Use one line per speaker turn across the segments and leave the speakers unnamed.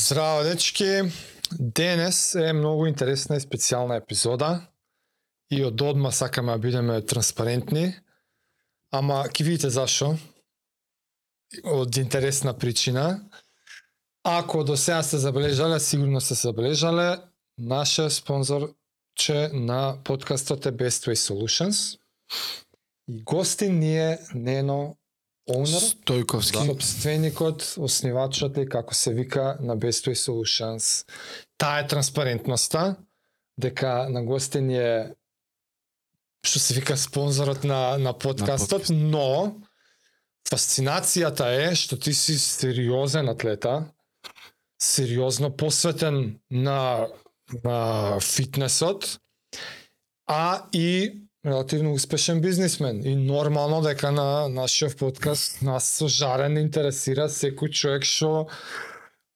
Здраво, дечки! Денес е многу интересна и специјална епизода и од одма сакаме да бидеме транспарентни, ама ќе видите зашо, од интересна причина. Ако до сега сте забележале, сигурно сте забележале, наше спонзор че на подкастот е Best Way Solutions. И гости ни е Нено Оунер.
Стојковски.
Да. Собственикот, основачот и како се вика на Best Way Solutions. Таа е транспарентноста, дека на гости ни е што се вика спонзорот на, на подкастот,
подкаст.
но фасцинацијата е што ти си сериозен атлета, сериозно посветен на, на фитнесот, а и релативно успешен бизнисмен. И нормално дека на нашиот подкаст нас со жарен интересира секој човек што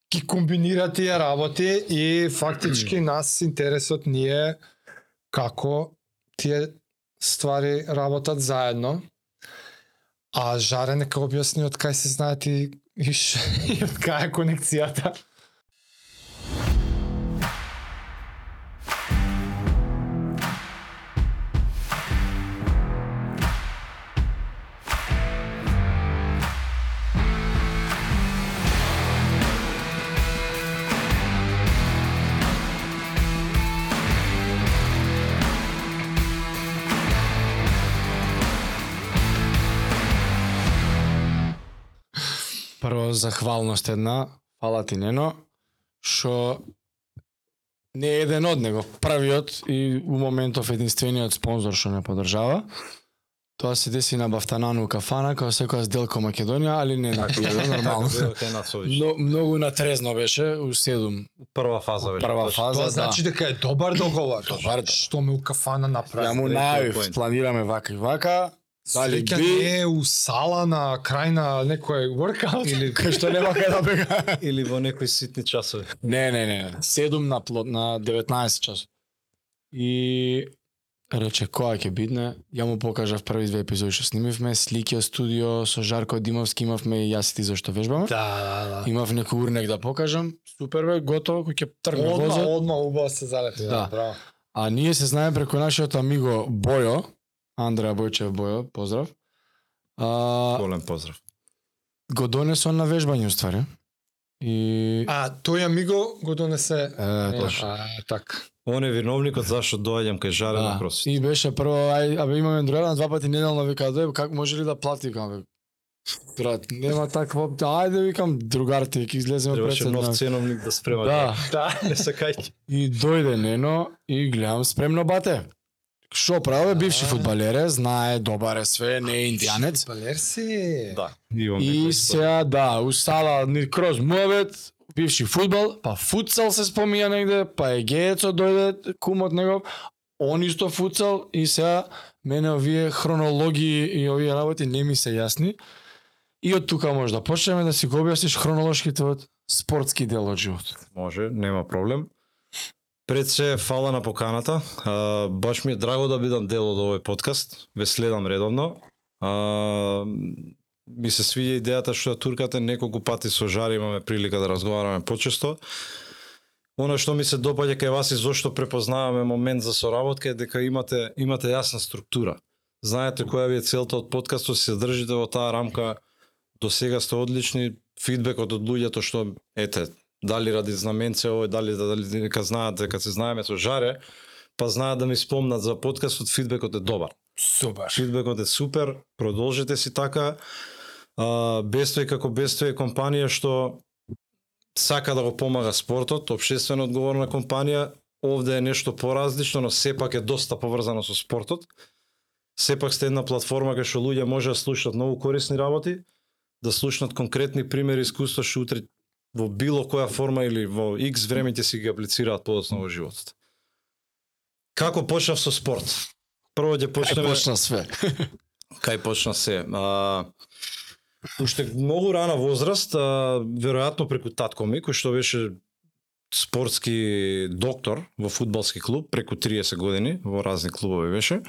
ги комбинира тие работи и фактички нас интересот ни е како тие ствари работат заедно. А Жаре нека објасни од кај се знаат и, и, ш- и од кај е конекцијата.
Прво захвалност една, фала ти Нено, што не е еден од него, првиот и у моментов единствениот спонзор што не подржава. Тоа се деси на Бафтанану кафана, како секоја сделка во Македонија, али не на пијадо, нормално.
Една совиш.
Но, многу натрезно беше, у седум,
Прва фаза беше.
прва фаза,
Тоа
да.
значи дека е добар договор.
Добар договор.
Што ме у кафана направи.
Ја му
тој
најавив,
поент.
планираме вака и вака, дали
Среќа
би,
не е у сала на крај на некој воркаут или
кај што нема кај да бега.
Или во некои ситни часови.
Не, не, не. 7 на плот на 19 час. И рече која ќе бидне. Ја му покажав први две епизоди што снимивме, слики од студио со Жарко Димовски имавме и јас и ти зашто вежбаме.
Да, да, да.
Имав некој урнек да покажам. Супер бе, готово, кој ќе тргне
Одма,
возот.
одма убаво се залепи.
Да.
браво.
А ние се знаеме преку нашиот амиго Бојо, Андреа Бојчев Бојо, поздрав. А,
Голем поздрав.
го донесо на вежбање уствари. И
А тој амиго го донесе
е,
Е,
точно.
а, така.
Он е виновникот зашто доаѓам кај Жаре на
Да.
кросфит.
И беше прво, ај, абе имаме Андројана два пати неделно, вика, ај, как може ли да плати, викам, бе, брат, нема таква, опција. ајде, викам, другар ти, ќе излеземе пред
Требаше
седна.
нов ценовник да спрема.
Да,
Да.
Не се кај.
и дојде Нено и гледам спремно бате. Шо праве, бивши
А.
фудбалер е, знае, добар е све, не е индијанец.
Балер си.
Да. Имам
И
некој спор.
сега, да, у сала, ни кроз мовет, бивши фудбал, па футсал се спомија негде, па Егеецо дојде кумот негов, он исто футсал и сега мене овие хронологии и овие работи не ми се јасни. И од тука може да почнеме да си го објасниш хронолошките од спортски дел од живот.
Може, нема проблем. Пред се, фала на поканата. А, баш ми е драго да бидам дел од овој подкаст. Ве следам редовно. А, ми се свиѓа идејата што ја туркате неколку пати со Жар имаме прилика да разговараме почесто. Оно што ми се допаѓа кај вас и зошто препознаваме момент за соработка е дека имате имате јасна структура. Знаете која ви е целта од подкастот, се држите во таа рамка. До сега сте одлични, фидбекот од луѓето што ете, дали ради знаменце овој, дали дали дека знаат дека се знаеме со Жаре, па знаат да ми спомнат за подкастот, фидбекот е добар.
Супер.
Фидбекот е супер, продолжете си така. А, Бестој како Бестој е компанија што сака да го помага спортот, обшествено одговорна компанија, овде е нешто поразлично, но сепак е доста поврзано со спортот. Сепак сте една платформа кај што луѓе може да слушнат многу корисни работи, да слушнат конкретни примери искуства што утре во било која форма или во X време ќе си ги аплицираат подоцна во животот. Како почнав со спорт? Прво ќе
Е,
почнеме
почна све.
кај почна се. А, уште многу рана возраст, а, веројатно преку татко ми, кој што беше спортски доктор во фудбалски клуб преку 30 години, во разни клубови беше.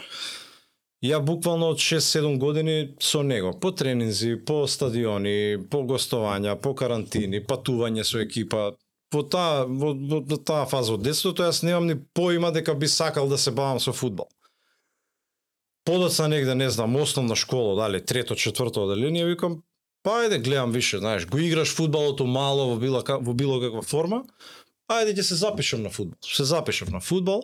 Ја буквално од 6-7 години со него, по тренинзи, по стадиони, по гостовања, по карантини, патување со екипа, во таа во, во, во таа фаза од детството јас немам ни поима дека би сакал да се бавам со фудбал. Подоцна негде, не знам, основна школа, дали трето, четврто оделение, викам, па ајде гледам више, знаеш, го играш фудбалото мало во било, во било каква форма, ајде ќе се запишам на фудбал. Се запишав на фудбал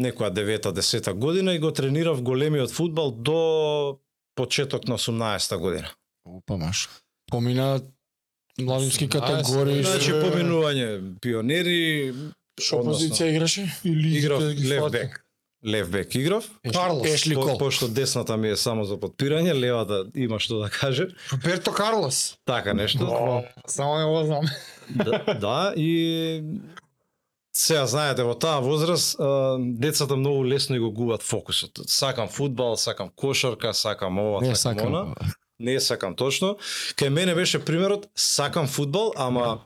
некоја девета, десета година и го тренирав големиот фудбал до почеток на 18 година.
Опа, маш. Помина младински категории.
Знаеш,
Значи,
Значи
е-
поминување пионери,
Шо
односно,
позиција играше? Или
играв лев бек. Лев бек играв.
Карлос.
Ешли
По,
Кол.
пошто десната ми е само за подпирање, левата има што да каже.
Роберто Карлос.
Така нешто.
О, Само не го знам.
да, да, и сега знаете во таа возраст а, децата многу лесно и го губат фокусот. Сакам фудбал, сакам кошарка, сакам ова,
Не
сакам, сакам она.
сакам. да.
Не сакам точно. Кај мене беше примерот, сакам фудбал, ама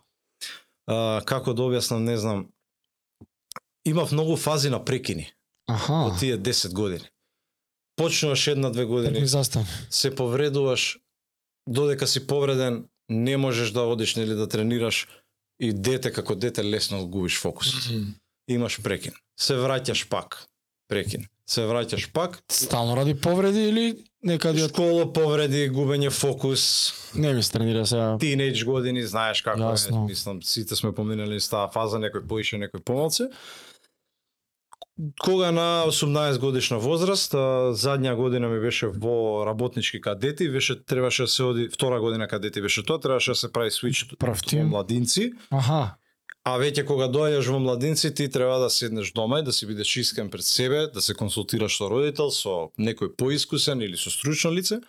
а, како да објаснам, не знам. Имав многу фази на прекини
Аха.
во тие 10 години. Почнуваш една-две години,
Тренинг застан.
се повредуваш, додека си повреден, не можеш да одиш нели да тренираш и дете како дете лесно губиш фокус. Имаш прекин. Се враќаш пак. Прекин. Се враќаш пак.
Стално ради повреди или некаде од
Школа повреди, губење фокус,
не ми се тренира сега.
тинејдж години, знаеш како
Јасно.
е, мислам, сите сме поминали низ таа фаза, некој поише, некој помалце. Кога на 18 годишна возраст, а, задња година ми беше во работнички кадети, беше требаше да се оди втора година кадети беше тоа, требаше да се прави свич
Прав
во
тим.
младинци,
Аха.
а веќе кога доаѓаш во младинци ти треба да седнеш дома и да си бидеш искрен пред себе, да се консултираш со родител, со некој поискусен или со стручно лице,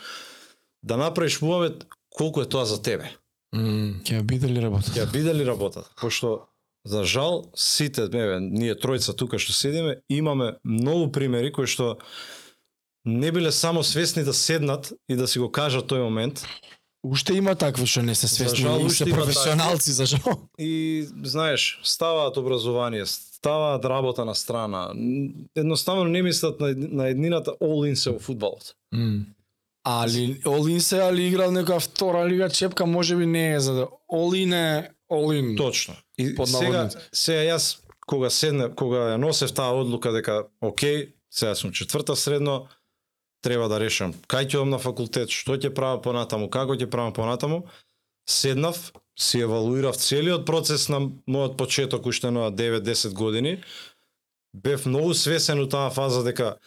да направиш муавет колку е тоа за тебе
Ќе ја биде ли работа?
ќе биде ли работата? Пошто за жал сите еве ние тројца тука што седиме имаме многу примери кои што не биле само свесни да седнат и да си го кажат тој момент
Уште има такви што не се свесни,
жал,
не
уште
се
има
професионалци за жал.
и знаеш ставаат образование, ставаат работа на страна. н- Едноставно не мислат на, ед- на еднината all in се во фудбалот.
Али Олин се али играл нека втора лига чепка, можеби не е за да Олин е Олин.
Точно. И
Под
сега,
наводници.
сега јас кога седне, кога ја носев таа одлука дека окей, сега сум четврта средно, треба да решам кај ќе одам на факултет, што ќе правам понатаму, како ќе правам понатаму, седнав, си евалуирав целиот процес на мојот почеток уште на 9-10 години. Бев многу свесен у таа фаза дека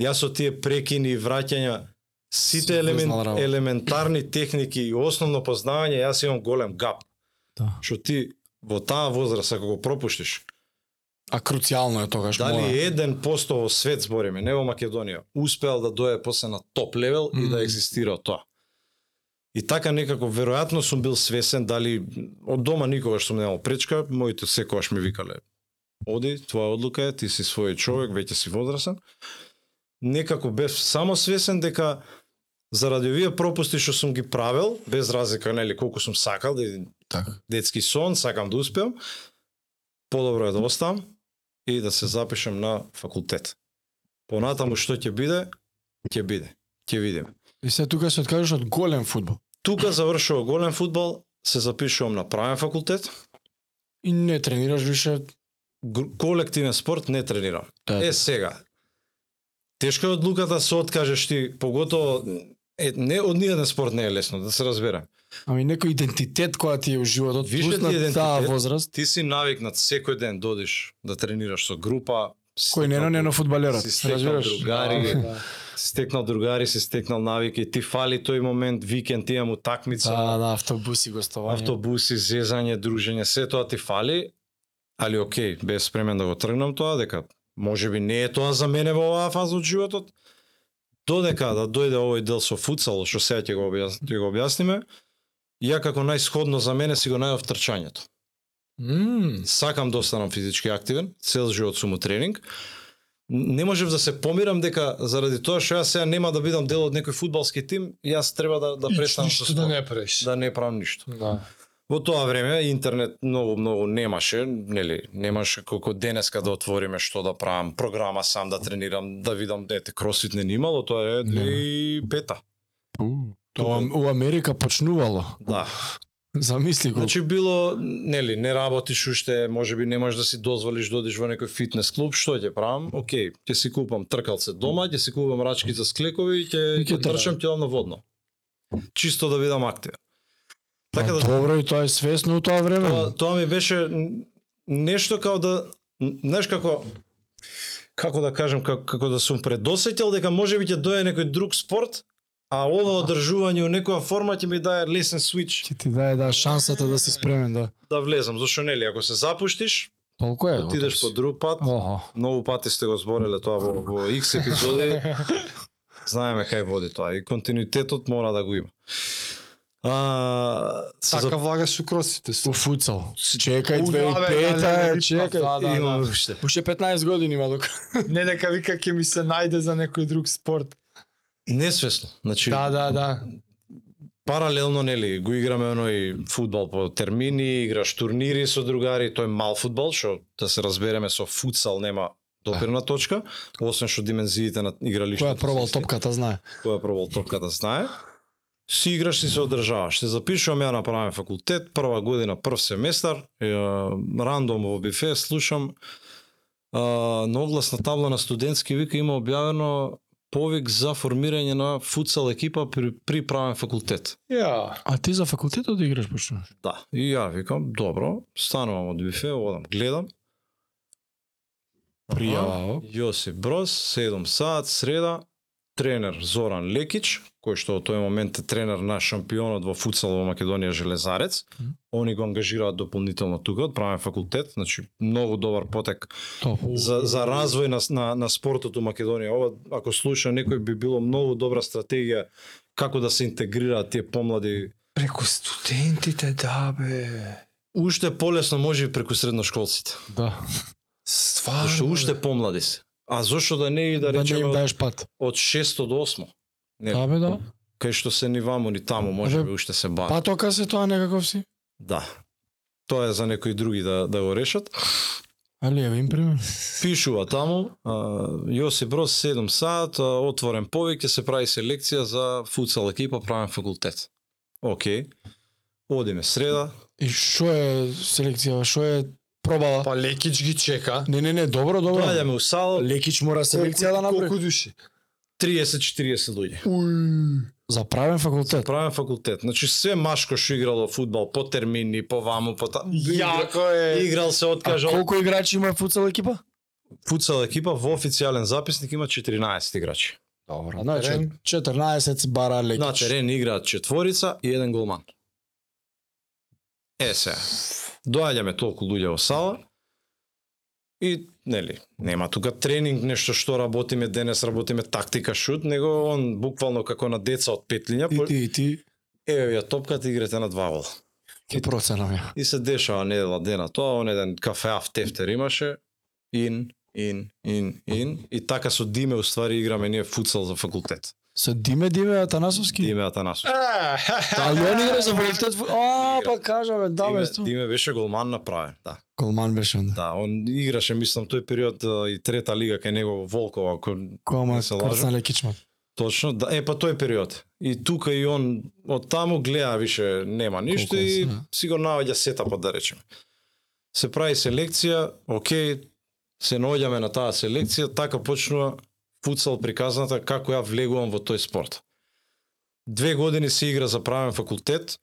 јас со тие прекини и враќања
Си
сите елемент,
познал работа.
елементарни техники и основно познавање, јас имам голем гап.
Да.
Што ти во таа возраст ако го пропуштиш,
А круцијално е тогаш
дали
моја.
еден посто во свет збориме, не во Македонија, успеал да дое после на топ левел и да
Мм.
екзистира од тоа. И така некако веројатно сум бил свесен дали од дома никогаш сум немал пречка, моите секогаш ми викале оди, твоја одлука е, ти си свој човек, веќе си возрасен. Некако бев само свесен дека заради овие пропусти што сум ги правел, без разлика нели колку сум сакал да
Така.
детски сон, сакам да успеам, подобро е да оставам и да се запишам на факултет. Понатаму што ќе биде, ќе биде. Ќе видиме.
И се тука се откажеш од голем фудбал.
Тука завршува голем фудбал, се запишувам на правен факултет.
И не тренираш више.
Гр- Колективен спорт не тренирам.
Да.
Е сега. Тешка е одлуката се откажеш ти, поготово е, не од ниједен спорт не е лесно, да се разбере.
Ами некој идентитет која ти е во животот,
Више
плюс
ти
на
идентитет.
таа возраст,
Ти си навикнат секој ден додиш да тренираш со група,
кој не е не фудбалерот.
си стекнал
Разбираш?
Да.
Да.
другари, си стекнал другари, си стекнал навики, ти фали тој момент, викенд имам утакмица,
Да, да, автобуси гостување.
автобуси, зезање, дружење, се тоа ти фали, али окей, бе спремен да го тргнам тоа, дека може би не е тоа за мене во оваа фаза од животот, додека да дојде овој дел со футсал, што сега ќе го, објас... ќе го објасниме, ја како најсходно за мене си го најав трчањето
Мм.
сакам да останам физички активен, цел живот сум у тренинг. Не можев да се помирам дека заради тоа што јас сега нема да бидам дел од некој фудбалски тим, јас треба да да престанам со
Ништо да
спорт,
не преш.
да не правам ништо.
Да.
Во тоа време интернет многу многу немаше, нели, немаше колку денеска да отвориме што да правам, програма сам да тренирам, да видам дете кросфит не ни имало, тоа е 2005
Тоа у Америка почнувало.
Да.
Замисли колку.
Значи било, нели, не работиш уште, можеби не можеш да си дозволиш да одиш во некој фитнес клуб, што ќе правам? Океј, ќе си купам тркалце дома, ќе си купам рачки за склекови и ќе
И ќе
ќе трчам ќе одам на водно. Чисто да бидам активен. Така
Па,
да
Добро и тоа е свесно у тоа време.
тоа, тоа ми беше н- нешто како да н- знаеш како како да кажам како, како да сум предосетил дека можеби ќе дое некој друг спорт, а ова одржување у некоја форма ќе ми даде лесен switch
Ќе ти даде да шансата да си спремен да.
да влезам, зашто нели ако се запуштиш,
Толку е.
отидеш по
отидеш.
друг пат.
Ого.
Многу пати сте го збореле тоа во, во X епизоди. Знаеме кај води тоа и континуитетот мора да го има. А, се
Така влагаш у кросите.
У фуцал. Чекај
па
2005-та, чекај.
да,
имам
да.
уште.
Уште 15 години има дока.
Не дека вика ќе ми се најде за некој друг спорт.
Несвесно. Значи,
Да, да, да.
паралелно нели го играме оној фудбал по термини, играш турнири со другари, тој мал фудбал што да се разбереме со футсал нема допирна точка, освен што димензиите на игралиштето.
Која пробал
се
топката знае.
која пробал топката знае. Си играш и се одржаваш. Се запишувам ја направам факултет, прва година, прв семестар, е, рандом во бифе, слушам е, на огласна табла на студентски вика има објавено повик за формирање на футсал екипа при, при правен факултет.
Ја.
А ти за факултетот играш почнуваш?
Да. И ја викам, добро, станувам од бифе, одам, гледам.
Пријава.
Јосип Броз, 7 саат, среда, тренер Зоран Лекич, кој што од тој момент е тренер на шампионот во футсал во Македонија Железарец.
Мгм.
Они го ангажираат дополнително тука од правен факултет, значи многу добар потек
Топ.
за, за развој на, на, на спортот у Македонија. Ова, ако слуша некој, би било многу добра стратегија како да се интегрираат тие помлади.
Преку студентите, да бе.
Уште полесно може и преку средношколците,
Да.
Стварно.
зашто
бе.
уште помлади се. А зошто да не и
Да
да
не им
речеме од,
даеш пат.
од 6 до 8? Не,
Да бе да.
кај што се ни ваму ни таму може би уште се бави.
Па тока се тоа некаков си.
Да. Тоа е за некои други да да го решат.
Али еве им пример.
Пишува таму, а, Јосип Брос 7 саат, а, отворен повик ќе се прави селекција за футсал екипа правен факултет. Океј. Одиме среда.
И што е селекцијава, што е пробала?
Па Лекич ги чека.
Не, не, не, добро, добро.
Доаѓаме у сала
Лекич мора селекција да направи.
Колку души?
30-40 луѓе.
Уј.
За правен факултет.
Правен факултет. Значи се машко што играло фудбал по термини, по ваму, по та...
Јако е.
Играл се
А
откажал.
колку играчи има футсал екипа?
Футсал екипа во официјален записник има 14 играчи.
Добро. Значи 14 си бара Лекич.
На терен играат четворица и еден голман. Е се. Доаѓаме толку луѓе во сала. И нели, нема тука тренинг нешто што работиме денес, работиме тактика шут, него он буквално како на деца од петлиња,
и
по...
ти и ти
еве ја топката играте на два гола.
и процена ја.
И се дешава недела дена тоа, он еден кафеав тефтер имаше, ин, ин, ин, ин, и така со Диме уствари играме ние футсал за факултет.
Со Диме Диме Атанасовски.
Диме Атанасов.
А, ха, ха.
А и он игра за факултет. А, па кажаме, да
Диме,
бе, сто.
Диме беше голман направен, да.
Голман беше онда.
Да, он играше, мислам, тој период а, и трета лига кај него во Волкова, ако
Кој ма
Не се лажам.
крцна Лекич ма.
точно, да, е па тој период. И тука и он од таму гледа више нема ништо
Колку е
и
сега?
си го наоѓа сетапот да речеме. Се прави селекција, окей, се наоѓаме на таа селекција, така почнува футсал приказната како ја влегувам во тој спорт. Две години се игра за правен факултет,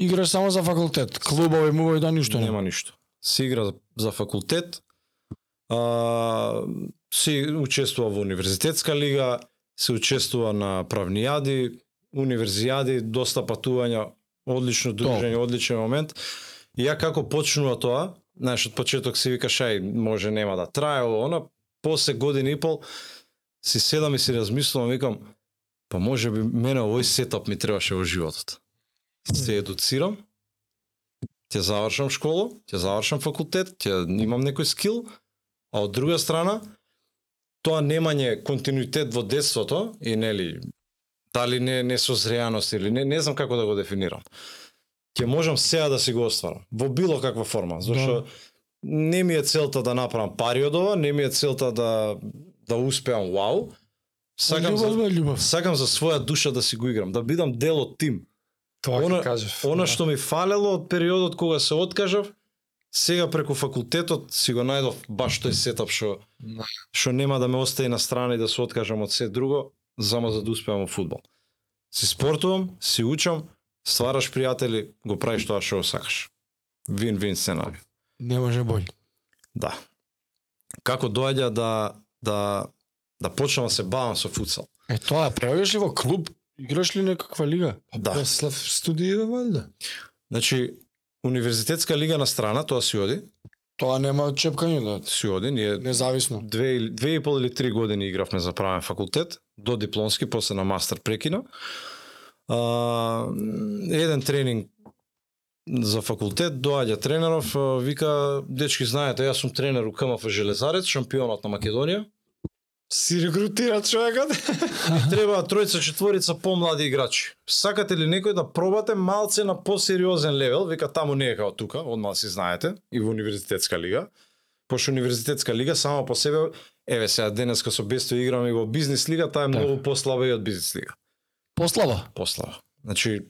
Играш само за факултет. Клубови му да ништо нема.
нема ништо. Се игра за- за факултет. А, се учествува во универзитетска лига, се учествува на правнијади, универзијади, доста патувања, одлично дружење, одличен момент. И ја како почнува тоа, знаеш, од почеток си викаш, ај, може нема да трае, ова, она, после година и пол, си седам и си размислувам, викам, па може би мене овој сетап ми требаше во животот. Се едуцирам, ќе завршам школа, ќе завршам факултет, ќе имам некој скил, а од друга страна, тоа немање континуитет во детството и нели дали не несозреаност или не не знам како да го дефинирам. Ќе можам сега да си го остварам во било каква форма, зашто не ми е целта да направам пари од ова, не ми е целта да да успеам вау. Сакам за
Љубов, бе, љубов.
сакам за своја душа да си го играм, да бидам дел од тим.
Тоа
Она-
ќе кажав.
Она
да.
што ми фалело од периодот кога се откажав, сега преку факултетот си го најдов баш тој сетап што
Да.
што нема да ме остави на страна и да се откажам од се друго, зама за да успеам во фудбал. Си спортувам, си учам, ствараш пријатели, го правиш тоа што го сакаш. Вин-вин сценарио.
Не може бољ.
Да. Како доаѓа да да да почнам да се бавам со футсал?
Е тоа, правиш ли во клуб? Играш ли некаква лига?
Па
Да.
Преслав студиеве валјда.
Значи универзитетска лига на страна, тоа си оди,
Тоа нема чепкање, да.
си оди, ние
Независно.
две, или- две и пол или три години игравме за правен факултет, до дипломски, после на мастер прекина. А, еден тренинг за факултет, доаѓа тренеров, а, вика, дечки, знаете, јас сум тренер у КМФ Железарец, шампионат на Македонија.
Си рекрутира човекот.
Ни треба тројца, четворица помлади играчи. Сакате ли некој да пробате малце на посериозен левел, вика таму не е како тука, одма си знаете, и во универзитетска лига. Пошто универзитетска лига само по себе, еве сега денеска со Бесто играме и во бизнес лига, таа е
Да.
многу послаба и од бизнес лига.
Послава.
Послаба. Значи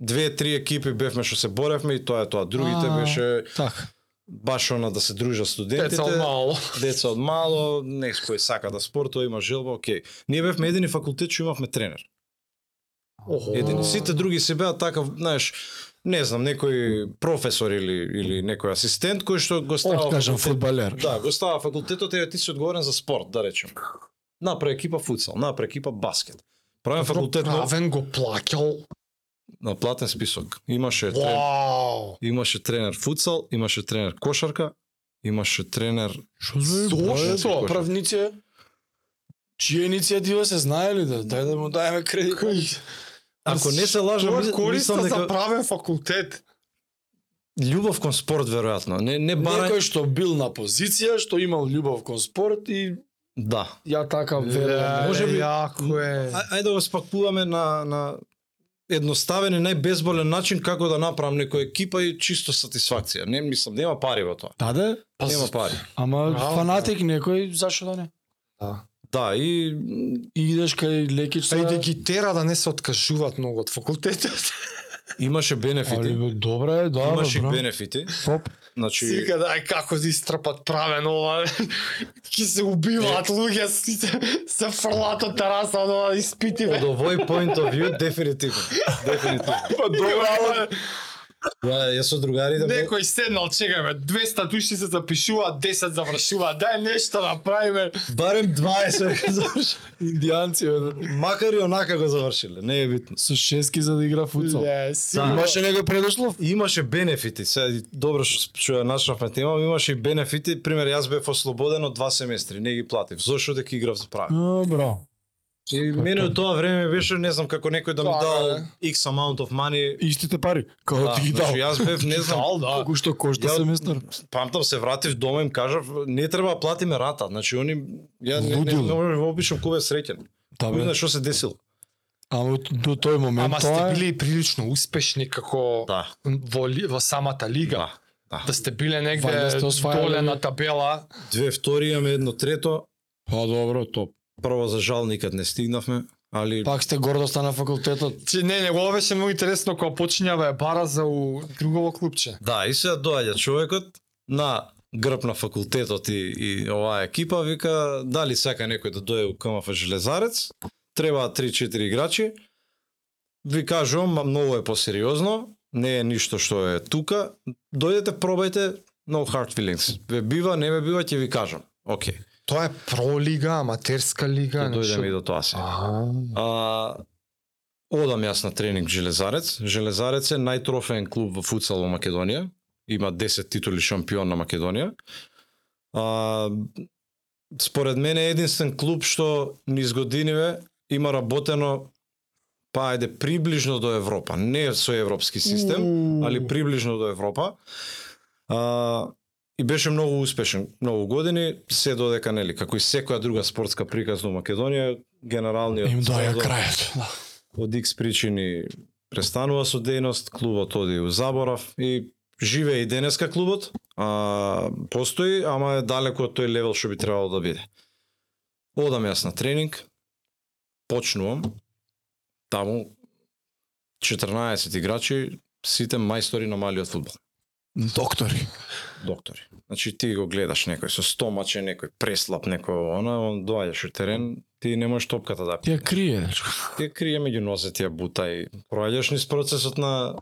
две, три екипи бевме што се боревме и тоа е тоа. Другите
А.
беше
Така.
баш она да се дружат студентите
Деца од мало.
деца од мало, некој кој сака да спортува, има желба, окей. Ние бевме едини факултет што имавме тренер.
Охо.
Едини сите други се беа така, знаеш, не знам, некој професор или или некој асистент кој што го става
Откажан
факултет-
фудбалер.
Да, го става факултетот, еве ти си одговорен за спорт, да речем. Напра екипа футсал, напра екипа баскет. Правен факултет но-
Правен го плаќал.
на платен список. Имаше тренер,
Вау.
имаше тренер футсал, имаше тренер кошарка, имаше тренер
Што
Зошто?
Што? Правници? Чија иницијатива се знае ли да? Дај да му даеме кредит.
Ако не се лажам,
Тоа
мис-
е користа
мислам дека
за правен факултет.
љубов кон спорт веројатно. Не не барање
Некој што бил на позиција, што имал љубов кон спорт и
Да.
ја така верувам.
Леле,
може би-
Јако е.
А, ајде да го спакуваме на, на едноставен и најбезболен начин како да направам некоја екипа и чисто сатисфакција. Не мислам, нема пари во тоа.
Даде,
Па,
нема пари.
ама
Браво,
фанатик некој, зашо да не?
Да, и
И идеш кај
Па
лекичца.
и да ги тера да не се откажуваат многу од факултетот.
имаше бенефити.
бе, добра е, да,
имаше и
бе, бра.
бенефити.
Топ.
Си
Значи,
вика, дај како да истрпат правен ова. Ки се убиваат луѓе, сите се фрлат од тераса од ова испити.
од овој point of view дефинитивно. Дефинитивно.
Па добра,
Ја јас со да другарите
Некој седнал, чекаме, 200 души се запишуваат, 10 завршуваат, дај нешто направиме.
барем 20 го заврши.
Индијанци,
да.
бе.
Макар и онака го завршиле, не е битно.
Со шески за да игра футсал.
Не, си.
Да.
Имаше некој предошлов?
имаше бенефити. Сега и добро што што ја нашавме тема, имаше и бенефити. Пример, јас бев ослободен од два семестри, не ги платив. Зошто дека играв за прави?
Браво.
И мене од тоа време беше не знам како некој да ми
Тоа,
дал
да.
X amount of money.
Истите пари, како
Да,
да, ти ги дал.
значи, јас бев не знам.
Ал, да.
Колку што кошта
Ја-
семестар?
Памтам се вратив дома им кажав не треба да платиме рата. Значи они ја не, не, не,
Лудил.
можам да опишам кој е среќен.
Да,
Кој
бе.
знае што се десило.
Ама до тој момент
Ама
тоа
сте
е...
били и прилично успешни како
Да.
во, ли- во самата лига.
Да. Да.
Да сте биле негде
Вајда сте освајале-
доле на табела.
Две втори имаме едно трето.
Па добро, топ.
Прво за жал никад не стигнавме, али
Пак сте гордоста на факултетот.
Че, не, не, ова беше многу интересно кога почињава е бара за у другово клубче.
Да, и сега доаѓа човекот на грб на факултетот и, и оваа екипа вика дали сака некој да дојде у КМФ Железарец, треба 3-4 играчи. Ви кажувам, ма, многу е посериозно, не е ништо што е тука. Дојдете, пробајте, no hard feelings. Ве бива, не ве бива, ќе ви кажам. Океј,
Тоа е пролига, аматерска лига,
ќе Да дојдеме и до тоа се.
А,
А, одам јас на тренинг Железарец. Железарец е најтрофеен клуб во футсал во Македонија. Има 10 титули шампион на Македонија. А, според мене е единствен клуб што низ годиниве има работено па ајде приближно до Европа, не со европски систем, али приближно до Европа. А, и беше многу успешен многу години, се додека нели како и секоја друга спортска приказна во Македонија, генералниот
Им доаѓа
спонзор
крајот. Да.
од X причини престанува со дејност, клубот оди у заборав и живее и денеска клубот, а, постои, ама е далеку од тој левел што би требало да биде. Одам јас на тренинг, почнувам, таму 14 играчи, сите мајстори на малиот фудбал.
Доктори.
доктори. Значи ти го гледаш некој со стомаче, некој преслап, некој она, он доаѓаш у терен, ти не можеш топката да
Ти ја крие.
ти ја крие меѓу нозе, ти ја бута и проаѓаш низ процесот на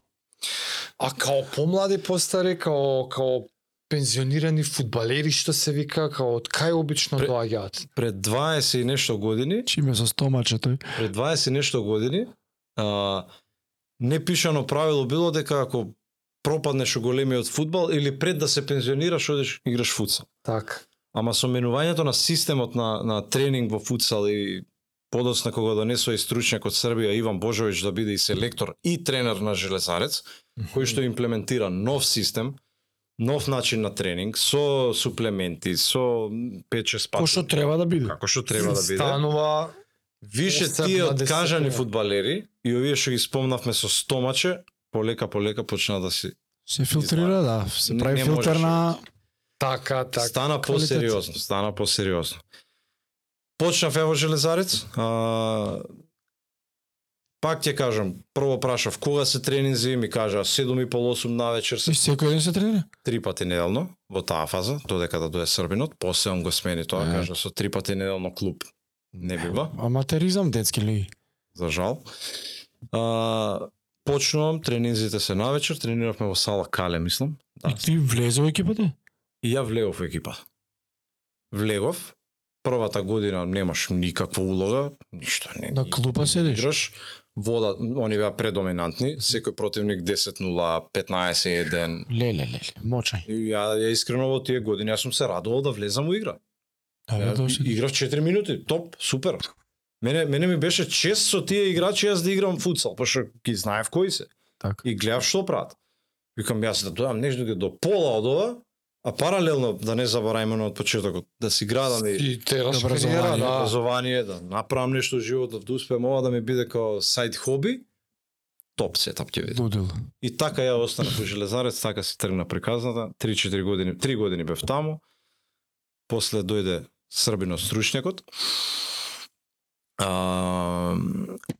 А као помлади постари, као, као пензионирани фудбалери што се вика, као од кај обично
Пре-
доаѓаат?
пред 20 и нешто години,
Чиме со стомаче тој.
пред 20 и нешто години, а, непишано правило било дека ако пропаднеш у големиот фудбал или пред да се пензионираш одиш играш футсал.
Така.
Ама со менувањето на системот на, на тренинг во футсал и подосна кога донесува и стручњак од Србија Иван Божовиќ да биде и селектор и тренер на Железарец, кој што имплементира нов систем, нов начин на тренинг, со суплементи, со 5-6 пати.
Кој што треба да биде.
како што треба да биде.
Станува
Више
Осем
тие
на
откажани
десет, да.
фудбалери и овие што ги спомнавме со стомаче, полека полека почна да се
Се филтрира, да. Се
Не-
прави
не
филтер
можеш.
на...
така, така.
стана
квалитет.
посериозно, стана посериозно. Почнав ево Железарец, а, пак ќе кажам, прво прашав кога се тренинзи, ми кажа 7.30-8 на вечер се
И секој ден се тренира.
три пати неделно во таа фаза, додека да дое Србинот, после он го смени тоа,
Е.
кажа со три пати неделно клуб. Не бива,
Аматеризам детски лиги.
за жал. А, почнувам, тренинзите се навечер, трениравме во сала Кале, мислам. Да.
И ти влезе во екипата?
И ја влегов во екипа. Влегов, првата година немаш никаква улога, ништо не.
На клупа седиш.
Играш, вода, они беа предоминантни, секој противник 10-0, 15-1.
Леле, леле, мочај.
И Ја, ја искрено во тие години, јас сум се радувал да влезам во игра.
Да,
Ја,
да, да, се-
играв 4 минути, топ, супер. Мене, мене ми беше чест со тие играчи јас да играм футсал, пошто ги знаев кои се.
Така.
И гледав што прават. Викам јас да дојам нешто до пола од ова, а паралелно да не забораваме на од почетокот, да си градам и
И тераш
Образование.
кариера,
да.
да.
образование, да направам нешто во животот, да успеам ова да ми биде као сайд хоби, топ сетап ќе биде.
Лудил.
И така ја останав во Железарец, така се тргна приказната, 3-4 години, 3 години бев таму. После дојде Србино стручњакот. А,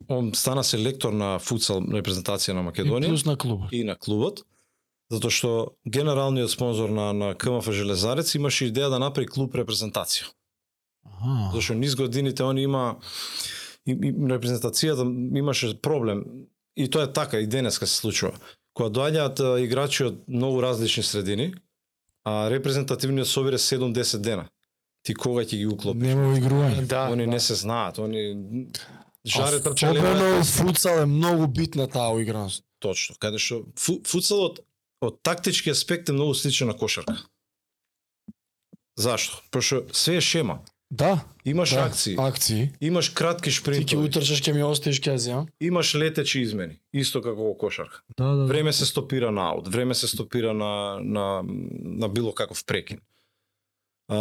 он стана селектор на футсал репрезентација на
И
Македонија
плюс на клуба.
и на клубот, затоа што генералниот спонзор на, на КМФ Железарец имаше идеја да направи клуб репрезентација.
Аха.
Зашто низ годините он има и, и репрезентацијата имаше проблем и тоа е така и денеска се случува. Кога доаѓаат а, играчи од многу различни средини, а репрезентативниот собир е 7-10 дена. Ти кога ќе ги уклопиш?
Нема игрување.
Да,
Они
да.
не се знаат, они жаре трчале.
Особено футсал е многу битна таа уиграност.
Точно, каде што фу, футсалот од тактички аспект е многу сличен на кошарка. Зашто? Пошто све е шема.
Да,
Имаш
да,
акции,
акции.
имаш кратки
Ти ќе
шпринтови,
утрчаш, ќе ми оставиш, ќе ја земам.
имаш летечи измени, исто како во кошарка.
Да, да,
Време се стопира на аут, време се стопира на на на било каков прекин. А,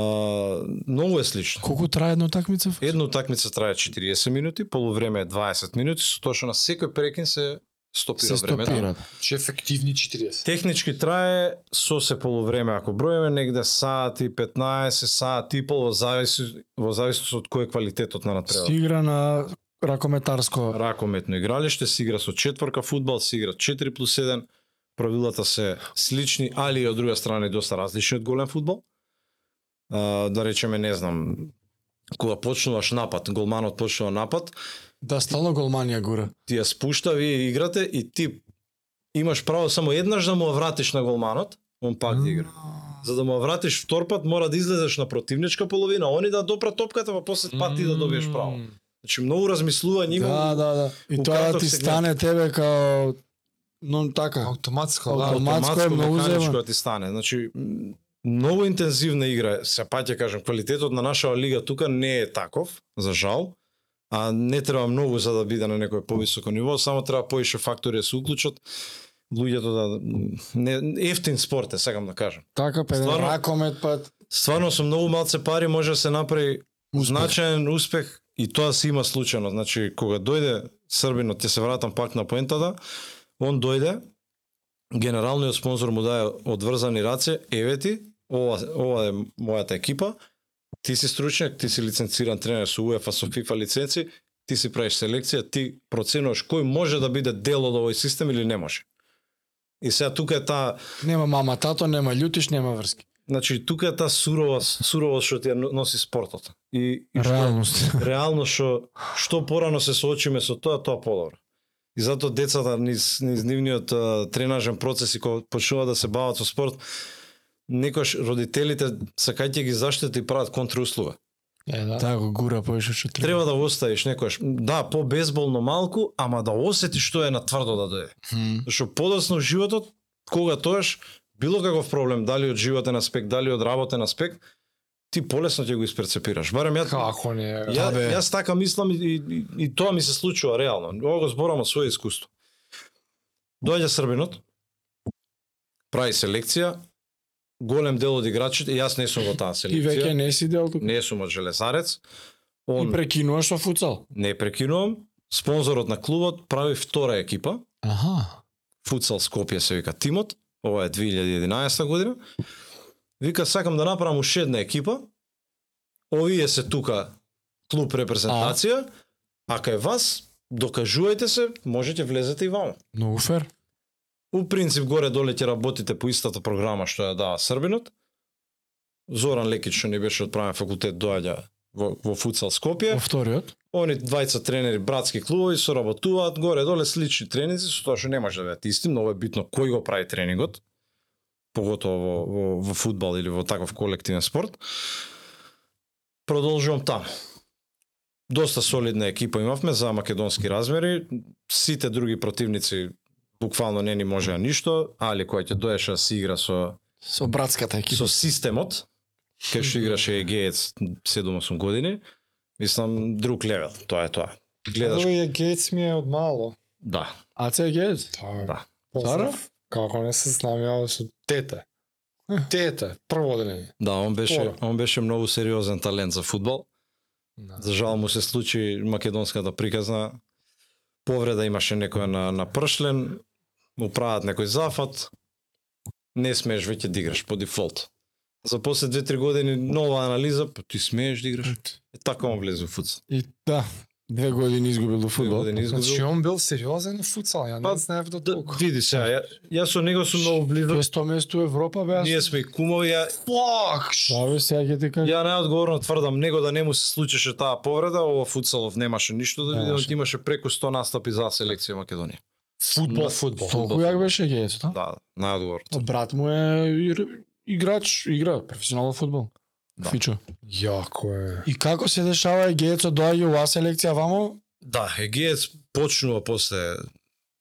многу е слично.
Колку трае една такмица?
Една утакмица трае 40 минути, полувреме е 20 минути, со тоа што на секој прекин се стопира
Се
времето.
стопира.
Че ефективни 40.
Технички трае со се полувреме ако броиме негде саат и 15, саат и пол во зависи во зависност од кој е квалитетот на
Се
натпревар.
игра на ракометарско.
Ракометно игралиште се игра со четворка фудбал, се игра 4 плюс 1. Правилата се слични, али и од друга страна и доста различни од голем фудбал. А, да речеме, не знам, кога почнуваш напад, голманот почнува напад,
Да, стално голманија гура.
ти ја спушта, вие играте и ти имаш право само еднаш да му ја вратиш на голманот, он пак ти игра. За да му ја вратиш втор пат, мора да излезеш на противничка половина, они да допрат топката, па после пат ти да добиеш право. Значи многу размислување има.
Да, да, да. И
у
тоа да
картов
ти
сегмент.
стане тебе као но така.
Автоматско,
Ок.
да.
Автоматско е многу
механичко
зема.
да ти стане. Значи м, многу интензивна игра, е. се пак ќе кажам, квалитетот на нашава лига тука не е таков, за жал. А не треба многу за да биде на некој повисоко ниво, само треба поише фактори да се уклучат луѓето да м, не ефтин спорт е, сакам да кажам.
Така па еден
Стварно?
ракомет па
Стварно со многу малце пари може да се направи
Успех.
значаен успех и тоа се има случајно. Значи кога дојде Србинот, ќе се вратам пак на поентата, он дојде, генералниот спонзор му даде одврзани раце, еве ти, ова, ова е мојата екипа, ти си стручњак, ти си лиценциран тренер со УЕФА, со FIFA лиценци, ти си правиш селекција, ти проценуваш кој може да биде дел од овој систем или не може. И сега тука е таа
Нема мама, тато, нема љутиш, нема врски.
Значи, тука е таа сурова, сурова што ти ја но- носи спортот. И, и што,
Реалност.
реално што, што порано се соочиме со тоа, тоа подобро. И затоа децата низ, низ нивниот а, тренажен процес и кога почнуваат да се бават со спорт, некош родителите, сакајќи ги заштити, и прават контрауслуга.
Е, да.
Така го гура повеќе што треба.
Треба да го оставиш некош, да, по-безболно малку, ама да осетиш што е на тврдо да дојде.
Мгм.
Зашто подоцна во животот, кога тоаш, било каков проблем, дали од животен аспект, дали од работен аспект, ти полесно ќе го исперцепираш. Барем ја,
Како не е?
ја,
Да, бе.
јас така мислам и, и, и, и тоа ми се случува реално. Ова го зборам од свое искуство. Доаѓа Србинот, прави селекција, голем дел од играчите, јас не сум во таа
И веќе
селекција,
не си дел тука.
не сум од Железарец,
И
он
прекинуваш со футсал.
не прекинувам, спонзорот на клубот прави втора екипа,
Аха.
Футсал Скопје се вика тимот, ова е 2011 година. Вика сакам да направам уште една екипа. Овие се тука клуб репрезентација, а, кај вас докажувајте се, можете влезете и вамо.
Многу фер.
У принцип горе доле ќе работите по истата програма што ја дава Србинот. Зоран Лекич што не беше од правен факултет доаѓа во, во Футсал Скопје.
Во вториот.
Они двајца тренери, братски клубови, соработуваат горе-доле слични тренинзи, со тоа што не може да бидат исти, многу е битно кој го прави тренингот, поготово во, во, во фудбал или во таков колективен спорт. Продолжувам таму. Доста солидна екипа имавме за македонски размери, сите други противници буквално не ни можеа ништо, али кој ќе доеше да си игра со
Со братската екипа.
со системот, кај што играше Егеец 7-8 години, мислам друг левел, тоа е тоа. Гледаш,
Гледаш... Гейтс ми е од мало.
да,
АЦГ.
Та,
Да.
Поздрав. Како не се знам ја со тете. Тете, прво одделение.
да, он беше
Споро.
он беше многу сериозен талент за фудбал.
Да.
За жал му се случи македонската приказна повреда имаше некоја на на пршлен, му прават некој зафат. Не смееш веќе да играш по дефолт. За после 2-3 години нова анализа, па ти смееш да играш. Е, така он влезе во фудбал.
И да, две години изгубил до
Две
фудбал.
години изгубил.
Значи, он бил сериозен на футсал, ја
Па,
не знаев до
Да,
толку.
види сега, ја, јас со него сум многу близо.
Тоа е 100 место у Европа беа.
Ние сме и кумови, ја,
Фак!
Да, бе, сега ќе ти кажам.
ја најодговорно тврдам, него да не му се случеше таа повреда, ова футсалов немаше ништо да види,
Немаше.
но имаше преку 100 настапи за селекција Македонија.
Футбол, Да, футбол.
Толку јак беше Гејцот, а?
Да, најодговорно.
Брат му е ир- играч, игра професионален фудбал.
Да.
Фичо.
Јако е.
И како се дешава Гејцот доаѓа у вас селекција вамо?
Да, Егеец почнува после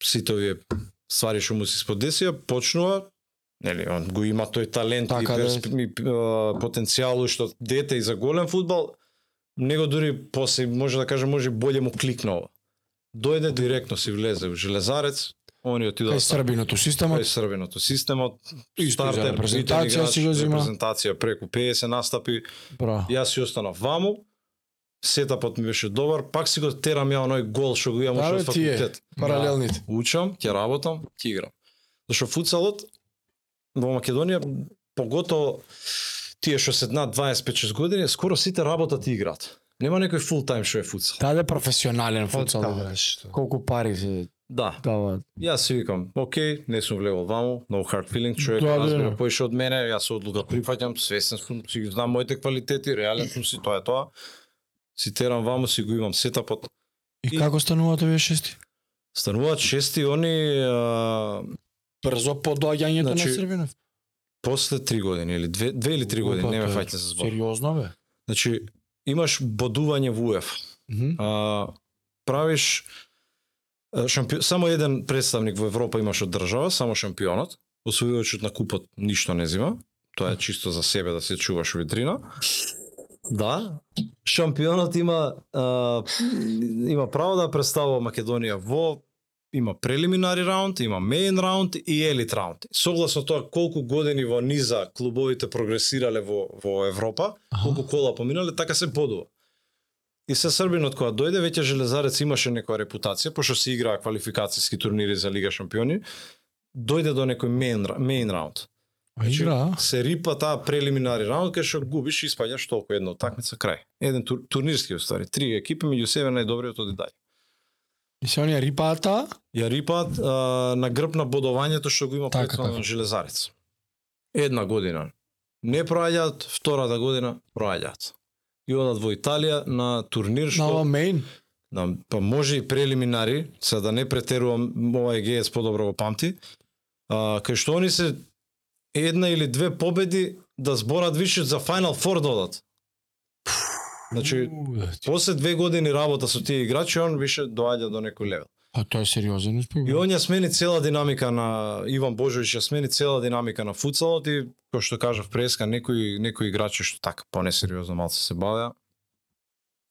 сите овие ствари што му се сподесија, почнува нели он го има тој талент
Така,
и,
да.
персп... и а, потенцијал што дете и за голем фудбал, него дури после може да кажем може и боље му кликнува. Дојде директно си влезе во Железарец, они отидоа
Кај
са-
Србиното системот.
Кај србиното системот,
Исто за
стартер,
репрезентација
битен играч,
си го зима.
репрезентација преку 50 настапи,
Браво.
јас си останав ваму, сетапот ми беше добар, пак си го терам ја оној гол што го имам
Да,
уште
бе,
од
тие.
факултет.
Паралелните.
Учам, ќе работам, ќе играм. Зашто футсалот во Македонија, поготово тие што се над 25-6 години, скоро сите работат и играат. Нема некој фул тајм што е футсал.
Даде професионален
Па,
футсал.
Футсал,
бе.
нешто.
Колку пари се
Да,
даваат?
Јас си викам, окей, не сум влегол ваму, no hard feeling, човек
Да,
да,
да,
разбира
да.
поише од мене, јас се одлука прифаќам, свесен сум, си ги знам моите квалитети, реален сум си, тоа е тоа. Си терам ваму, си го имам сетапот.
И
И-
како стануваат овие шести?
Стануваат шести они а,
Брзо по доаѓањето
Значи,
на Србинов.
после три години или две, две или три години, не ме
Опа, бе,
фаќа се збор.
Сериозно бе.
Значи имаш бодување во УЕФ.
Мгм.
а, правиш а, шампион, само еден представник во Европа имаш од држава, само шампионот, освојувачот на купот ништо не зема, тоа е чисто за себе да се чуваш у витрина. Да, шампионот има а, има право да представува Македонија во има прелиминари раунд, има мејн раунд и елит раунд. Согласно тоа колку години во низа клубовите прогресирале во во Европа, колку кола поминале, така се бодува. И се Србинот кога дојде, веќе Железарец имаше некоја репутација, пошто се играа квалификацијски турнири за Лига шампиони, дојде до некој мејн, ра- мејн раунд.
А игра, а?
се рипа таа прелиминари раунд кај што губиш и испаѓаш толку една утакмица крај. Еден тур, турнирски устави, три екипи меѓу себе најдобриот од дај.
И се оние рипата,
Ја рипаат а, на грб на бодувањето што го има
Така,
претходно
така.
железарец. Една година не проаѓаат, втората година проаѓаат. И одат во Италија на турнир
на ова
што
мейн.
на, па може и прелиминари, за да не претерувам овај ГС подобро го памти. А, кај што они се една или две победи да зборат више за Final Four да одат. Значи,
У, да ти-
после две години работа со тие играчи, он више доаѓа до некој левел.
А тоа е сериозен успех.
И он ја смени цела динамика на Иван Божовиќ, ја смени цела динамика на футсалот и кој што кажав преска некои некои играчи што така понесериозно малку се бавеа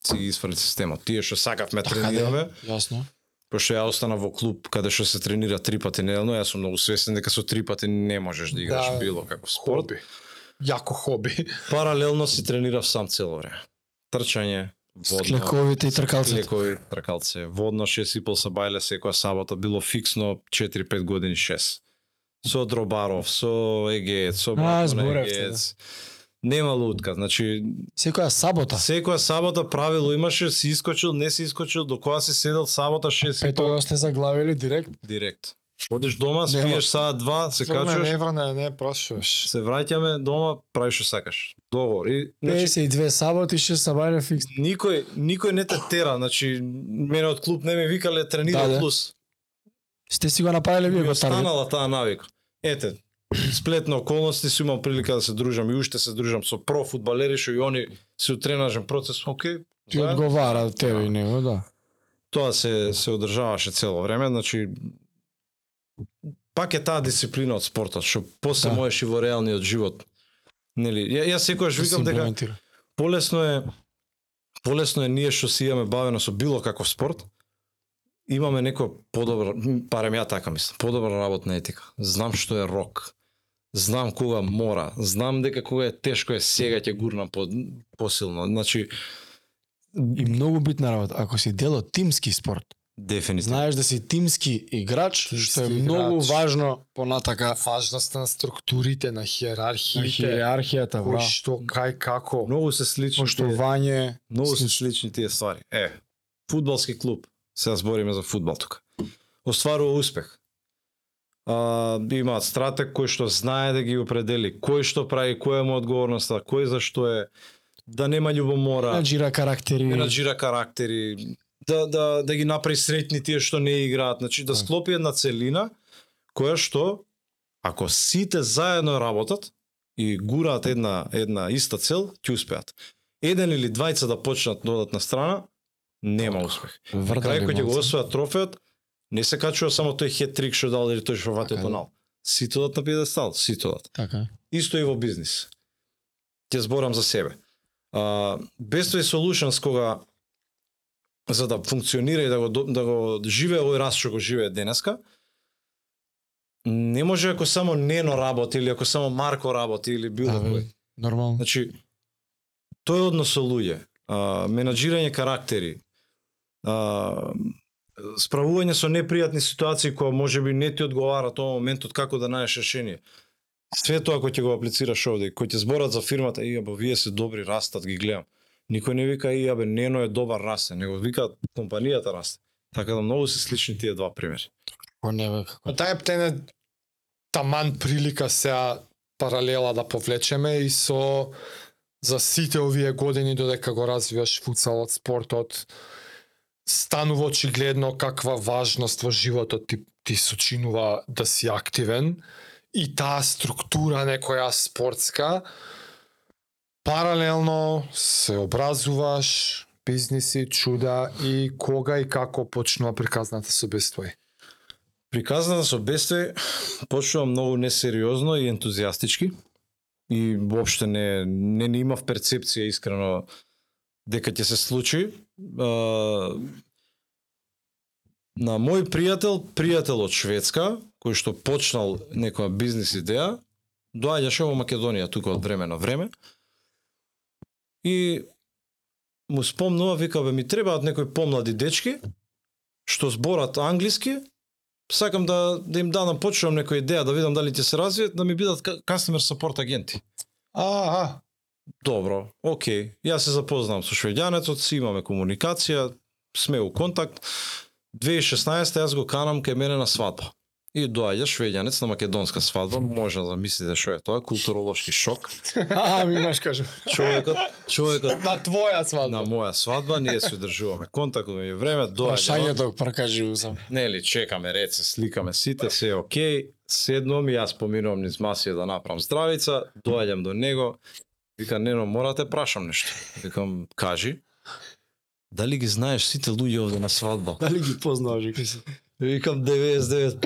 си ги изфрлит системот. Тие што сакавме
Така да
тренираме,
Јасно.
пошто ја остана во клуб каде што се тренира три пати неделно, јас сум многу свесен дека со три пати не можеш да играш
Да.
било каков спорт.
Хоби. Јако хоби.
Паралелно си тренирав сам цело време. Трчање, водно,
Клековите и тркалците.
Лекови, тркалце. Водно ше сипал са бајле секоја сабота, било фиксно 4-5 години 6. Со Дробаров, со Егеец, со Брако на
зборевте, да.
Егеец. Нема лутка, значи
Секоја сабота.
секоја сабота правило имаше, си искочил, не си искочил, до која си седел сабота 6
Ето го сте заглавили директ.
Значи- директ. Одиш дома,
Нема.
спиеш саат два, се
Не,
качуваш,
врне, не, прашуваш.
се враќаме дома, правиш што сакаш. Договор. И, значи,
52 саботи, 6 сабајле фикс.
никој, никој не те тера, значи, мене од клуб не ме викале
Да,
тренира
да.
плюс.
Сте си го направиле вие
Ми
го таргет.
останала таа навика. Ете, сплет на околности си имам прилика да се дружам и уште се дружам со про фудбалери што и они се утренажен процес, окей.
Ти
заедно.
одговара тебе и него, да.
Тоа се се одржаваше цело време, значи пак е таа дисциплина од спортот што после
Да.
можеш и во реалниот живот. Нели, ја, ја секогаш
Да се
викам дека
имплементира.
полесно е полесно е ние што си имаме бавено со било каков спорт, имаме некоја подобра, м, барем ја така мислам, подобра работна етика. Знам што е рок. Знам кога мора, знам дека кога е тешко е сега ќе гурнам по, посилно. Значи,
И многу битна работа. Ако си дел од тимски спорт,
дефинитивно.
знаеш да си тимски играч, што е
играч.
многу важно понатака
Важноста на структурите, на
на
хиерархиите,
хиерархијата,
кој
бра.
што, кај, како.
Многу се слични. тие-
Поштовање,
Многу се
Слич-
слични тие ствари. Е, фудбалски клуб, сега збориме за фудбал тука. Остварува успех. А, имаат стратег кој што знае да ги определи, кој што прави, која му е одговорноста, кој за што е, да нема љубомора,
менаџира карактери.
менаџира карактери, да, да, да ги направи сретни тие што не играат, значи да
Така.
склопи една целина која што ако сите заедно работат и гураат една една иста цел, ќе успеат. Еден или двајца да почнат да одат на страна, нема успех. На крај кој ќе го освојат трофеот, не се качува само тој хетрик што дал или тој што ватил
Така е.
пенал. Сите одат на педестал, сите одат
Така.
исто и во бизнис. Ќе зборам за себе. А, Best Way Solutions кога за да функционира и да го до- да го живее овој раст што го живее денеска, не може ако само Нено работи или ако само Марко работи или било
Да, бе,
кој.
Нормално.
Значи, тој однос со луѓе, а, менаджирање карактери, а, справување со непријатни ситуации кои може би не ти одговара тоа моментот како да најдеш решение. Све тоа кој ќе го аплицираш овде, кој ќе зборат за фирмата, и абе вие се добри, растат, ги гледам. Никој не вика и абе Нено е добар расте, него вика компанијата расте. Така да многу се слични тие два примери.
Кој не бе, како.
Па таа е птене таман прилика сега паралела да повлечеме и со за сите овие години додека го развиваш футсалот, спортот, станува очигледно каква важност во животот ти, ти сочинува да си активен и таа структура некоја спортска паралелно се образуваш, бизниси, чуда и кога и како почнува приказната со бестој.
Приказната со бестве почнува многу несериозно и ентузијастички и воопште не не, не имав перцепција искрено дека ќе се случи. А, на мој пријател, пријател од Шведска, кој што почнал некоја бизнис идеја, доаѓаше во Македонија тука од време на време. И му спомнува, вика, бе, ми требаат некои помлади дечки, што зборат англиски, сакам да да им дадам почнувам некоја идеја да видам дали ќе се развијат, да ми бидат ка- customer support агенти.
А, а,
Добро, окей. Јас се запознам со швеѓанецот, си имаме комуникација, сме у контакт. 2016 јас го канам кај мене на свадба. И доаѓа швеѓанец на македонска свадба, може да замислите што е тоа, културолошки шок.
А, ми имаш кажам.
Човекот, човекот
на твоја
на
свадба.
моја свадба, ние се одржуваме контакт меѓу време, доаѓа.
Прашањето го прокажи сам.
Нели, чекаме, реце, сликаме сите, се е окей. Седнувам и јас поминувам низ масија да направам здравица, доаѓам до него. Вика, нено, мора да те прашам нешто. Викам, кажи. Дали ги знаеш сите луѓе овде на свадба?
Дали ги познаваш, викам си.
Викам 99%.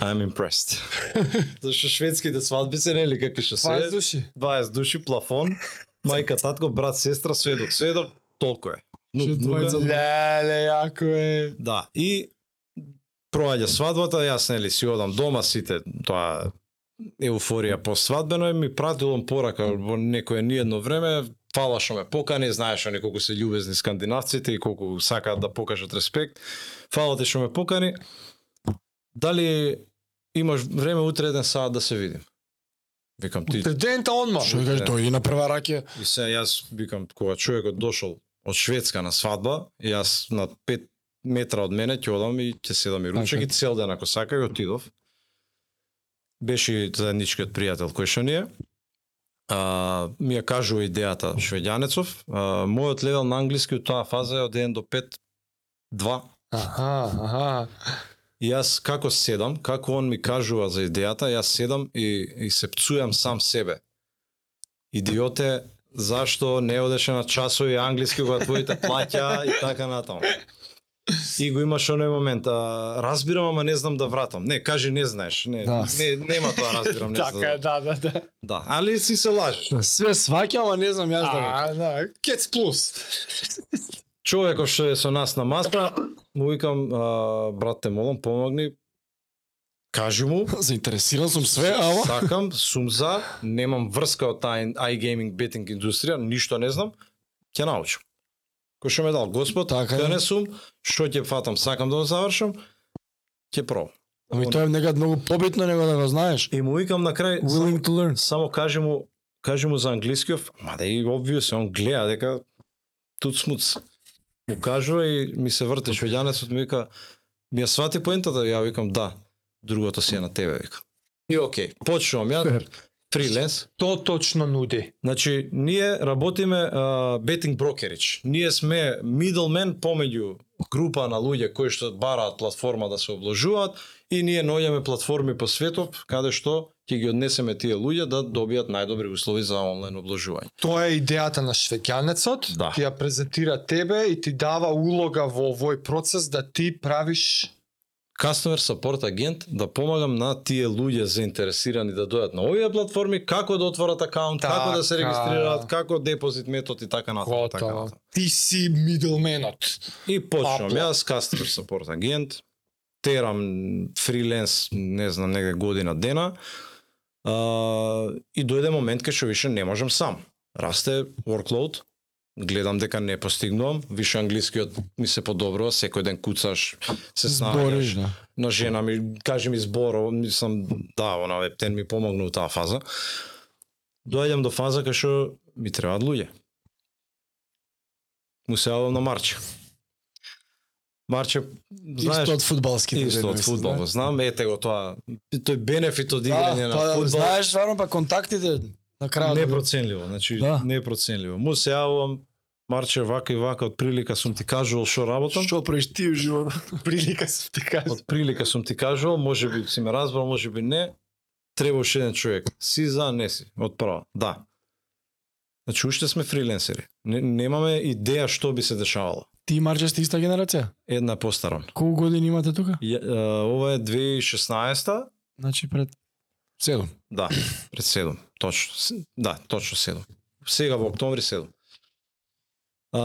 I'm impressed. Зашто шведските свадби се нели какви што се.
20 души.
20 души, плафон, мајка, татко, брат, сестра, сведок, сведок, толку е. Ну,
Што
ну,
двајца
Леле, јако е.
Да, и проаѓа свадбата, јас нели си одам дома сите, тоа еуфорија по свадбено и ми пратил он порака во некое ниедно време, фала што ме покани, знаеш они колку се љубезни скандинавците и колку сакаат да покажат респект. Фала ти што ме покани. Дали имаш време утре еден саат да се видим? Викам ти
Студента одма.
Што Па, кажеш, дојди на прва ракија.
И се јас викам кога човекот дошол од Шведска на свадба, јас на 5 метра од мене ќе одам и ќе седам и ручек и цел ден ако сака и отидов. Беше и заедничкиот пријател кој што ни е. А, ми ја кажува идејата шведјанецов. А, мојот левел на англиски у таа фаза е од 1 до 5 2
Аха, аха.
И јас како седам, како он ми кажува за идејата, јас седам и, и се пцујам сам себе. Идиоте, зашто не одеше на часови англиски кога твоите плаќа и така натаму. И го имаш оној момент, а, разбирам, ама не знам да вратам. Не, кажи не знаеш. Не,
Да.
не нема тоа разбирам, не знам.
Така е, да, да, да.
Да, али си се лажеш.
Све сваќам, ама не знам јас да го.
А, да, кец плюс.
човекот што е со нас на маста, му викам, а, брат те молам, помогни, кажи му,
Заинтересиран сум све, ама
Сакам, сум за, немам врска од таа ин- iGaming betting индустрија, ништо не знам, ќе научам. Кој што ме дал Господ,
Така
така
е.
не сум, што ќе фатам, сакам да го завршам, ќе пробам.
ами тоа е некад многу побитно него да го знаеш.
И му викам на крај,
Willing to learn.
само кажи му, кажи му за англискиов, мада да и obvious, он гледа дека тут смуц. Му кажува и ми се вртеш швеѓанецот ми вика, ми ја свати поентата, ја викам да, другото си е на тебе, вика. И окей, почнувам ја,
Фер.
фриленс,
То точно нуди.
Значи, ние работиме а, betting brokerage. Ние сме middleman помеѓу група на луѓе кои што бараат платформа да се обложуваат и ние наоѓаме платформи по светот каде што ќе ги однесеме тие луѓе да добијат најдобри услови за онлайн обложување.
Тоа е идејата на швеќанецот,
Да.
ти ја презентира тебе и ти дава улога во овој процес да ти правиш
Customer support агент да помагам на тие луѓе заинтересирани да дојат на овие платформи, како да отворат акаунт, како да се
Така.
регистрираат, како депозит метод и така натаму, така
Готово.
натаму.
Ти си мидлменот.
И почнам
Папло.
јас customer support агент, терам фриленс, не знам, некаде година дена. А, и дојде момент кај што више не можам сам. Расте workload, гледам дека не постигнувам, више англискиот ми се подобрува, секој ден куцаш, се
Збориш,
снаоѓаш.
да.
На жена ми каже ми зборо, мислам да, она вептен ми помогна у таа фаза. Доаѓам до фаза кај што ми требаат луѓе. Му се јавам на Марче. Марче, знаеш,
Исто од фудбалските.
исто од
тренери,
фудбал,
да.
знам, ете го тоа, тој бенефит од играње
Да,
на
па да го
фудбал
знаеш, стварно па контактите на крајот. да го-
непроценливо, значи
Да.
непроценливо. Му се јавам Марче вака и вака од прилика сум ти кажувал што работам.
Што правиш ти у животот?
Прилика сум ти кажа.
од прилика сум ти кажувал, може би си ме разбрал, може би не, требаше еден човек. Си за, не си, од прва, да. Значи, уште сме фриленсери. Не, немаме идеја што би се дешавало.
Ти и Марче сте иста генерација?
Една постарон.
Колку години имате тука?
Ја, е, ова е 2016
Значи пред 7.
Да, пред 7, точно. С- Да, точно 7. Сега во октомври 7. А,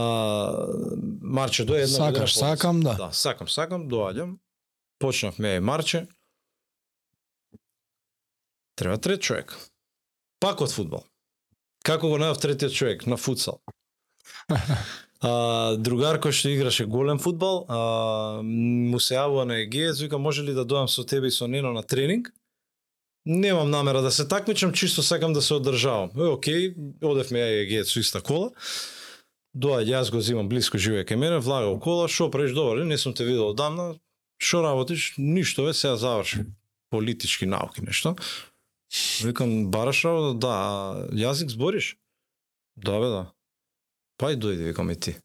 Марче дојде една
Сакаш,
година помалку.
сакам, да.
Да, сакам, сакам, доаѓам. Почнавме и Марче. Треба трет човек. Пак од фудбал. Како го најав третиот човек на футсал? А, другар кој што играше голем фудбал, а, му се јавува на Егеец, вика може ли да дојам со тебе и со Нено на тренинг? Немам намера да се такмичам, чисто сакам да се одржавам. Е, окей, одевме ја и Егеец со иста кола. Доаѓа, јас го зимам блиско живее кај мене, влага у кола, шо правиш добар, ли? не сум те видел одамна, шо работиш, ништо ве, сега заврши политички науки нешто. Викам, бараш работа? Да. А Јазик збориш? Да, бе, да. Па и дојди, викам и ти.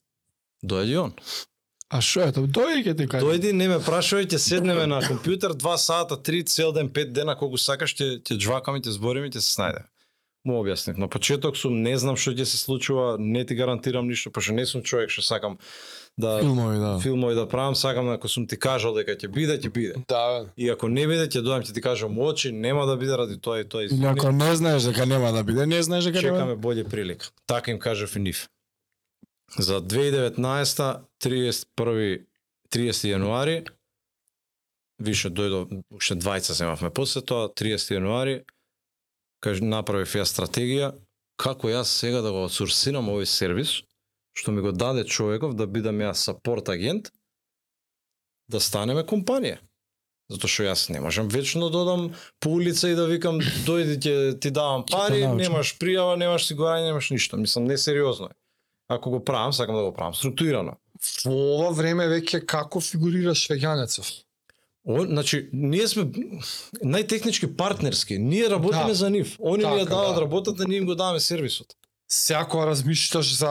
Дојди он.
А што е тоа? Дојди ќе ти кажам.
Дојди, не ме прашувај, ќе седнеме на компјутер два сата, три цел ден, пет дена, колку сакаш, ќе ќе джвакаме, ќе збориме, ќе се снајдеме. Му објаснив. На почеток сум, не знам што ќе се случува, не ти гарантирам ништо, пошто не сум човек што сакам да
Филмови, да.
филмови да правам, сакам ако сум ти кажал дека ќе биде, ќе биде.
Да, бе.
И ако не биде, ќе дојам ќе ти кажам очи, нема да биде ради тоа и тоа.
Или
извини,
ако не знаеш дека нема да биде, не знаеш дека нема.
чекаме боље прилика. Така им кажав и нив. За 2019 31 30 јануари више дојдов уште двајца се имавме после тоа 30 јануари каж направив ја стратегија како јас сега да го отсорсирам овој сервис што ми го даде човеков да бидам јас сапорт агент да станеме компанија. Затоа што јас не можам вечно да одам по улица и да викам дојди ќе ти давам пари,
научам.
немаш пријава, немаш сигурање, немаш ништо. Мислам несериозно е. Ако го правам, сакам да го правам структурирано.
Во ова време веќе како фигурираш веганецов?
О, значи, ние сме најтехнички партнерски. Ние работиме
Да.
за нив. Они ни ја
Така,
даваат
да.
работата, ние им го даваме сервисот.
Сега кога размишлуваш за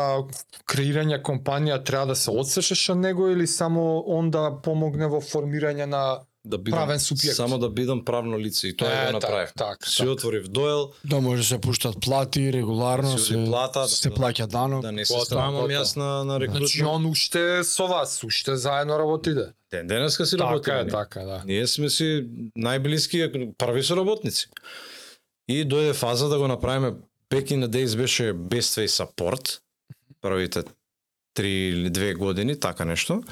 креирање компанија, треба да се одсечеш од него или само он да помогне во формирање на
Да бидам,
Правен субјект. така.
Само да бидам правно лице и тоа е, го направив.
Так, так,
Си отворив доел,
Да може се пуштат плати регуларно,
Се
се
плата,
се
да,
плаќа данок.
да не се
Потоа,
страмам
потоа.
јас на, на
Значи
рекрутмент.
он уште со вас, уште заедно работите.
Ден денеска си
Така
работиме.
е, така, да.
Ние сме си најблиски први соработници. И дојде фаза да го направиме back in the days беше best way support првите три или две години, така нешто.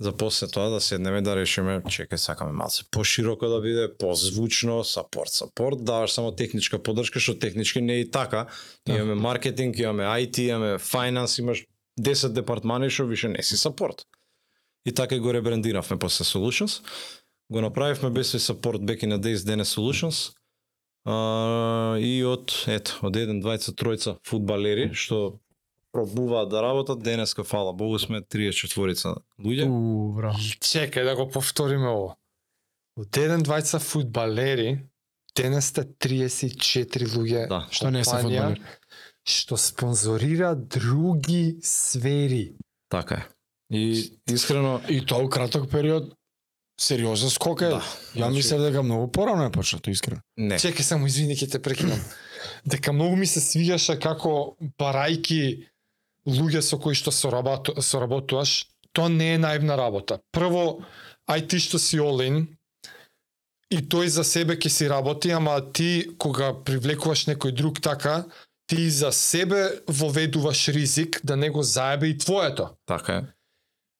За после тоа да седнеме да решиме, чекај, сакаме малце пошироко да биде, позвучно, сапорт, сапорт, даваш само техничка поддршка, што технички не е и така. Имаме маркетинг, имаме IT, имаме finance, имаш 10 департмани што више не си сапорт. И така и го ребрендиравме после Solutions. Го направивме без сапорт back in the days денес Solutions. А, и од, ето, од еден, двајца, тројца фудбалери што пробуваат да работат, денеска, фала Богу, сме 34 луѓе.
У, бра.
Чекај да го повториме ово. Од еден двајца фудбалери, денес сте 34 луѓе.
Да,
Што не се
компанија
фудбалер?
Што спонзорира други сфери.
Така е. И искрено,
И тоа у краток период сериозен скок е.
Да.
Ја
Значи-
мислев дека многу порано е почнато, искрено.
не.
Чекај само, извини, ќе те прекинам. Дека многу ми се свиѓаше како барајки луѓе со кои што сорабату- соработуваш, тоа не е наивна работа. Прво, ај ти што си олин, и тој за себе ќе си работи, ама ти кога привлекуваш некој друг така, ти за себе воведуваш ризик да не го заебе и твоето.
Така е.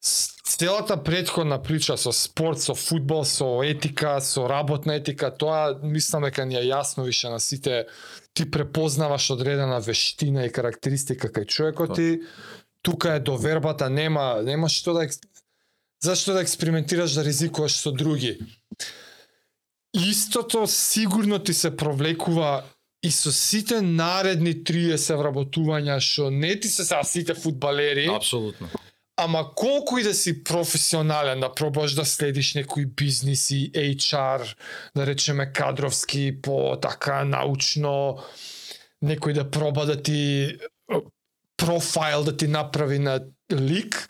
С- целата предходна прича со спорт, со фудбал, со етика, со работна етика, тоа мислам дека ни е јасно више на сите. Ти препознаваш одредена вештина и карактеристика кај човекот и тука е довербата, нема нема што да екс- зашто да експериментираш да ризикуваш со други. Истото сигурно ти се провлекува и со сите наредни 30 вработувања што не ти се сега сите фудбалери
Апсолутно.
ама колку и да си професионален, да пробаш да следиш некои бизниси, HR, да речеме кадровски, по така научно, некој да проба да ти е, профайл да ти направи на лик,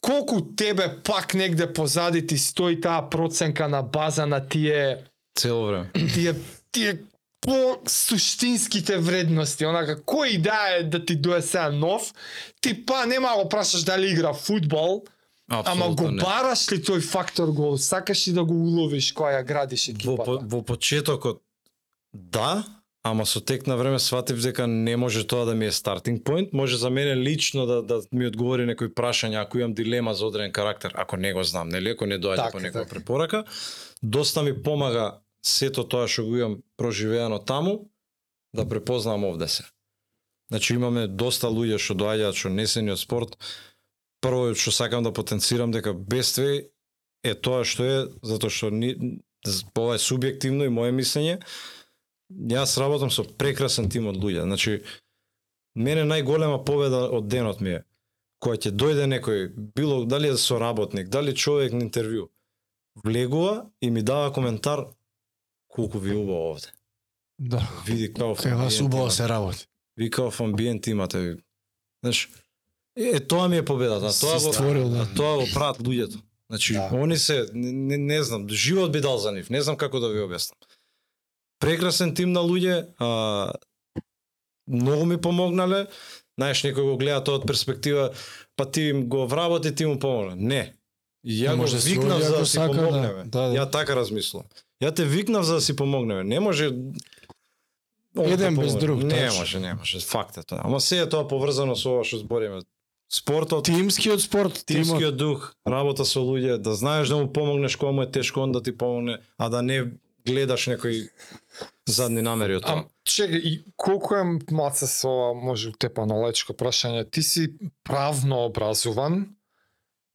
колку тебе пак негде позади ти стои таа проценка на база на тие
Цело време.
тие тие по суштинските вредности, онака кој идеја е да ти дое сега нов, ти па нема да го прашаш дали игра фудбал, ама
Апсолутно
го
не.
бараш ли тој фактор го сакаш ли да го уловиш која ја градиш
во, по-
екипата.
во почетокот да, ама со тек на време сватив дека не може тоа да ми е стартинг поинт, може за мене лично да да ми одговори некој прашање ако имам дилема за одреден карактер, ако не го знам, нели, ако не доаѓа
Така,
по некоја
така.
препорака, доста ми помага сето тоа што го имам проживеано таму да препознавам овде се. Значи имаме доста луѓе што доаѓаат што не се ни од спорт. Прво што сакам да потенцирам дека бестве е тоа што е затоа што ни з- ова е субјективно и мое мислење. Јас работам со прекрасен тим од луѓе. Значи мене најголема победа од денот ми е кога ќе дојде некој, било дали е соработник, дали човек на интервју, влегува и ми дава коментар колку ви убаво овде.
Да.
Види како
Кај вас
да.
убаво се работи.
Викав амбиент имате. Знаеш, е, е, тоа ми е победата. Тоа
Си
го,
створил, да.
тоа го прават луѓето. Значи,
Да.
да. они се, не, не, не знам, живот би дал за нив, не знам како да ви објаснам. Прекрасен тим на луѓе, а, многу ми помогнале, знаеш, некој го гледа тоа од перспектива, па ти им го вработи, ти му помогна. Не. И ја
Не
го
може да си
викнав
оди
за
ако
да си
сака, да.
помогнеме.
Да, да.
Ја така размислувам. Ја те викнав за да си помогнеме. Не може Овој
Еден
да
без
помогне.
друг,
Не
точно.
може, не може. Факт е тоа. Ама се е тоа поврзано со ова што збориме. Спортот,
Тимскиот спорт, тимот.
тимскиот дух, работа со луѓе, да знаеш да му помогнеш кога му е тешко, он да ти помогне, а да не гледаш некои задни намери од
А,
тоа.
чекай, и колку е маца со ова, може утепано лечко прашање, ти си правно образуван,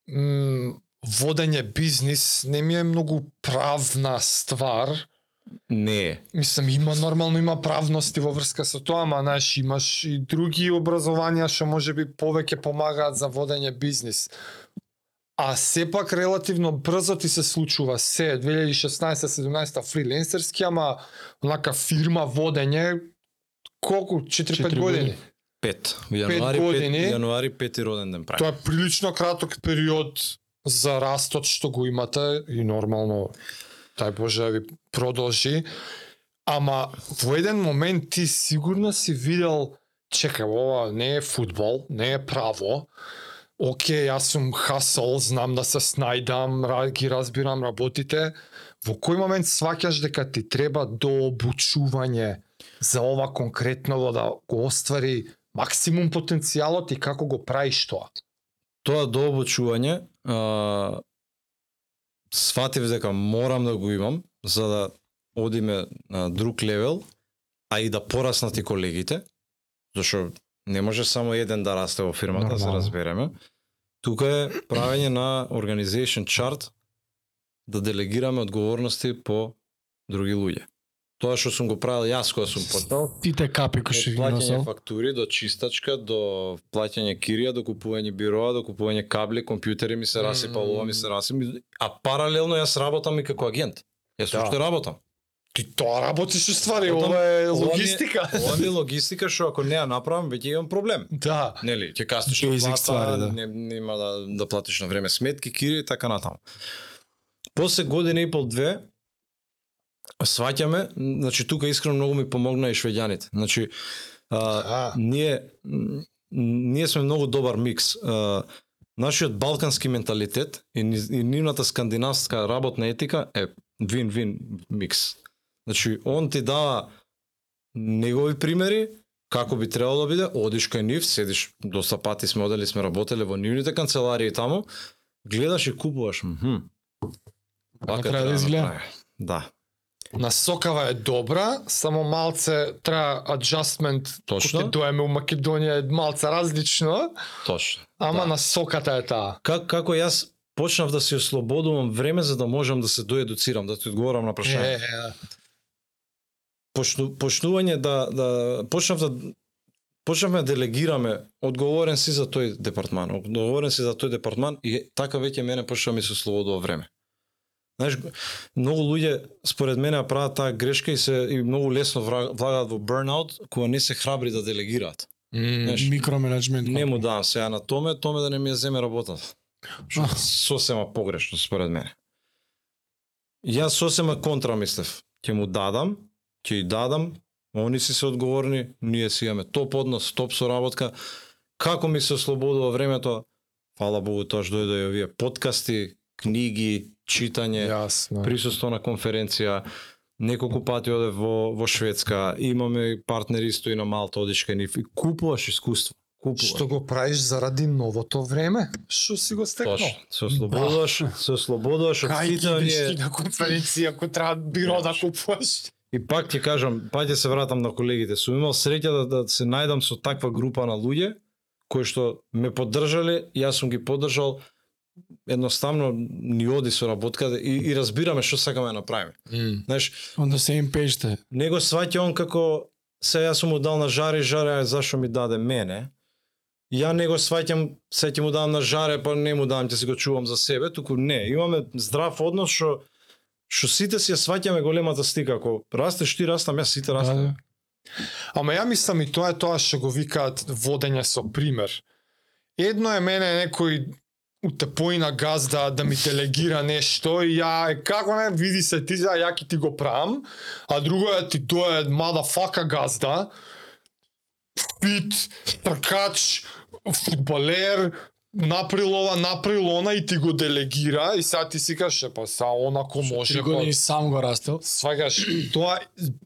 м, водење бизнис не ми е многу правна ствар,
Не е.
Мислам, има нормално има правности во врска со тоа, ама знаеш, имаш и други образованија што може би повеќе помагаат за водење бизнис. А сепак релативно брзо ти се случува се 2016-17 фриленсерски, ама онака фирма водење колку 4-5
Четири
години.
години.
Пет. Јануари
години.
пет, јануари пети роден ден прави.
Тоа е прилично краток период за растот што го имате и нормално тај Боже да ви продолжи. Ама во еден момент ти сигурно си видел чека, ова не е фудбал, не е право. Оке, јас сум хасол, знам да се снајдам, ра- ги разбирам работите. Во кој момент сваќаш дека ти треба дообучување за ова конкретно да го оствари максимум потенцијалот и како го правиш тоа?
тоа дообучување а, сватив дека морам да го имам за да одиме на друг левел, а и да пораснат и колегите, зашо не може само еден да расте во фирмата, Нормално. се
Нормално.
разбереме. Тука е правење на organization chart да делегираме одговорности по други луѓе. Тоа што сум го правил јас кога сум почнал,
Тите капи кои
Од
што ги
плаќање
носел.
фактури до чистачка, до плаќање кирија, до купување бироа, до купување кабли, компјутери ми се расипа,
Мм.
ова ми се расипа. А паралелно јас работам и како агент. Јас
Да.
уште работам.
Ти тоа работиш у ствари,
Потом,
ова е
ова ми е-
логистика.
Ова ми е логистика што ако не ја направам, веќе имам проблем.
Да.
Нели, ќе каснеш на
Basic
плата,
ствари, да.
не, нема да, да платиш на време сметки, кири и така натаму. После година и пол две, сваќаме, значи тука искрено многу ми помогна и швеѓаните. Значи, а,
А,
ние м, ние сме многу добар микс. А, нашиот балкански менталитет и, ни- и нивната скандинавска работна етика е вин-вин микс. Значи, он ти дава негови примери, како би требало да биде, одиш кај нив, седиш, доста пати сме одели, сме работеле во нивните канцеларии таму, гледаш и купуваш. Мхм. Вака
треба да изгледа.
направи. Да.
насокава е добра, само малце треба adjustment,
Точно.
кога ќе доеме у Македонија е малце различно,
Точно.
ама
Да.
насоката е таа.
как, како јас почнав да се ослободувам време за да можам да се доедуцирам, да ти одговорам на
Е,
прашање.
е, е.
Почну, почнување да, да почнав да почнавме да делегираме, одговорен си за тој департман, одговорен си за тој департман и така веќе мене почна да ми се ослободува време. Знаеш, многу луѓе според мене ја прават таа грешка и се и многу лесно вра- влагаат во burnout кога не се храбри да делегираат.
М,
знаеш,
Микроменеджмент.
Не му давам сега на томе, томе да не ми ја земе работата. Што е сосема погрешно според мене. Јас сосема контра мислев. Ќе му дадам, ќе и дадам, они си се одговорни, ние си имаме топ однос, топ соработка. Како ми се ослободува времето? Фала Богу, тоа што дојде и овие подкасти, книги, читање
Јасно.
присуство на конференција, неколку пати оде во, во Шведска, имаме партнери исто и на Малта, одиш кај нив и купуваш искуство. Купуваш.
Што го правиш заради новото време? Што си го стекнал?
Точно. Се ослободуваш, се ослободуваш од
Кај
сите
ги
оние
бишки на конференција, ако треба биро да купуваш?
И пак ќе кажам, пак ќе се вратам на колегите. Сум имал среќа да, да се најдам со таква група на луѓе кои што ме поддржале, јас сум ги поддржал. Едноставно ни оди со работката и, и разбираме што сакаме да направиме.
Mm.
Знаеш,
On the same page сте.
не го сваќа он како се јас сум му дал на жаре, жаре а зашо ми даде мене. Ја не го сваќам, се ќе му дам на жаре, па не му дам, ќе се го чувам за себе, туку не, имаме здрав однос што што сите си ја сваќаме големата слика, ако растеш ти, растам јас, сите
Да,
растаме.
да.
Ама ја мислам и тоа е тоа што го викаат водење со пример. Едно е мене некој утепоина газда да ми делегира нешто и ја е, како не види се ти за ја ќе ти го правам, а друго е ти тоа е мадафака газда. Пит, тркач, фудбалер, наприлова, наприлона и ти го делегира и сега ти си каш, па са онако може.
Три
па-
години сам го растел.
Свагаш, тоа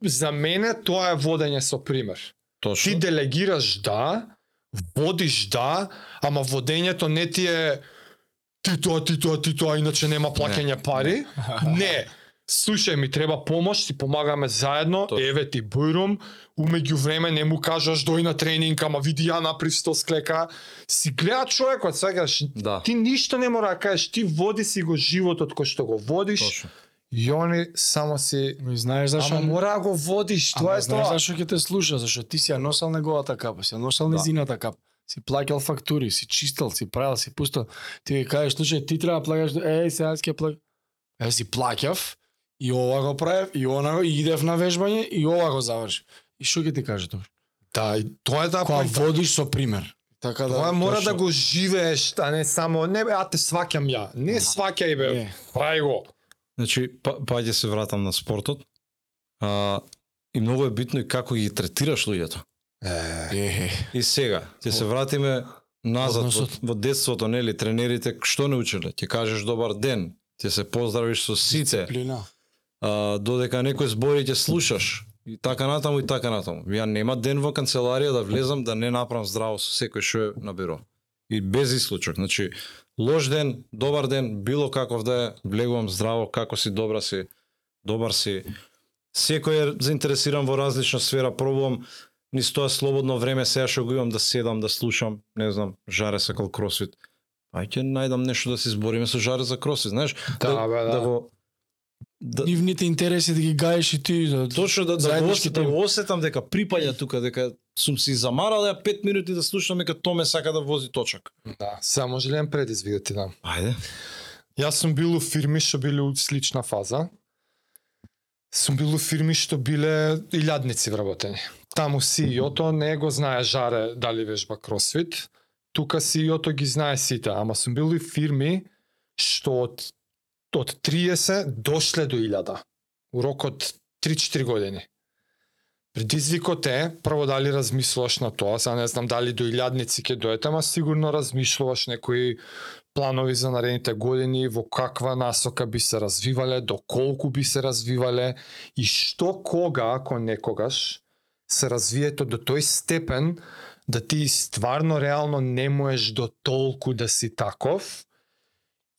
за мене тоа е водење со пример.
Точно.
Ти делегираш да, водиш да, ама водењето не ти е ти тоа, ти тоа, ти тоа, иначе нема плаќање пари. Не. Слушај ми треба помош, си помагаме заедно.
Точно.
Еве ти бурум. Умеѓу време не му кажаш дој на тренинг, ама види ја направи 100 склека. Си гледа човекот, свагаш,
Да.
ти ништо не мора да кажеш, ти води си го животот кој што го водиш.
Точно.
И они само си...
Но и знаеш зашо...
Ама мора да го водиш,
Ама
тоа е
знаеш
тоа.
зашо ќе те слуша, зашо ти си ја носел неговата капа, си ја носел
Да.
низината капа. Си плаќал фактури, си чистел, си правил, си пустал. Ти ги кажеш, слушај, ти треба да плаќаш, еј, сега аз ќе плаќам. Е, си плаќав, и ова го правев, и она го, и идев на вежбање, и ова го завршив. И што ќе ти каже тоа?
Да, и тоа е да
Кога водиш со пример. Така да.
Тоа мора
точно.
да го живееш, а не само не бе, а те сваќам ја. Не сваќај бе,
Е,
прај го.
Значи, па, па ќе се вратам на спортот. А, и многу е битно и како ги третираш луѓето.
е, е.
И сега, ќе се вратиме назад во,
Односот.
во детството, нели, тренерите, што не учеле? Ќе кажеш добар ден, ќе се поздравиш со сите,
Плина.
а, додека некој збори ќе слушаш, и така натаму, и така натаму. Ја нема ден во канцеларија да влезам да не направам здраво со секој што е на биро. И без исклучок. Значи, лош ден, добар ден, било каков да е, влегувам здраво, како си, добра си, добар си. Секој е заинтересиран во различна сфера, пробувам низ тоа слободно време, сега што го имам да седам, да слушам, не знам, жаре сакал кросфит. Ајде најдам нешто да се збориме со жаре за кросфит, знаеш?
Да, бе, да.
да го да,
Нивните интереси да ги гаеш и ти да
Точно да, да, го,
Заеднички
ос- да
тим.
го осетам дека припаѓа тука, дека сум си замарал ја 5 минути да слушам дека тоа ме сака да вози точак.
Да, сега може ли предизвик да ти дам?
Ајде.
Јас сум бил у фирми што биле у слична фаза. Сум бил у фирми што биле илјадници вработени. Таму CEO-то не го знае жаре дали вежба кросфит. Тука CEO-то ги знае сите, ама сум бил и фирми што од, од 30 дошле до 1000 у рокот 3-4 години. Предизвикот е, прво дали размислуваш на тоа, сега не знам дали до илјадници ќе дојдете, ама сигурно размислуваш некои планови за наредните години, во каква насока би се развивале, до колку би се развивале и што кога, ако некогаш, се развието до тој степен да ти стварно реално не можеш до толку да си таков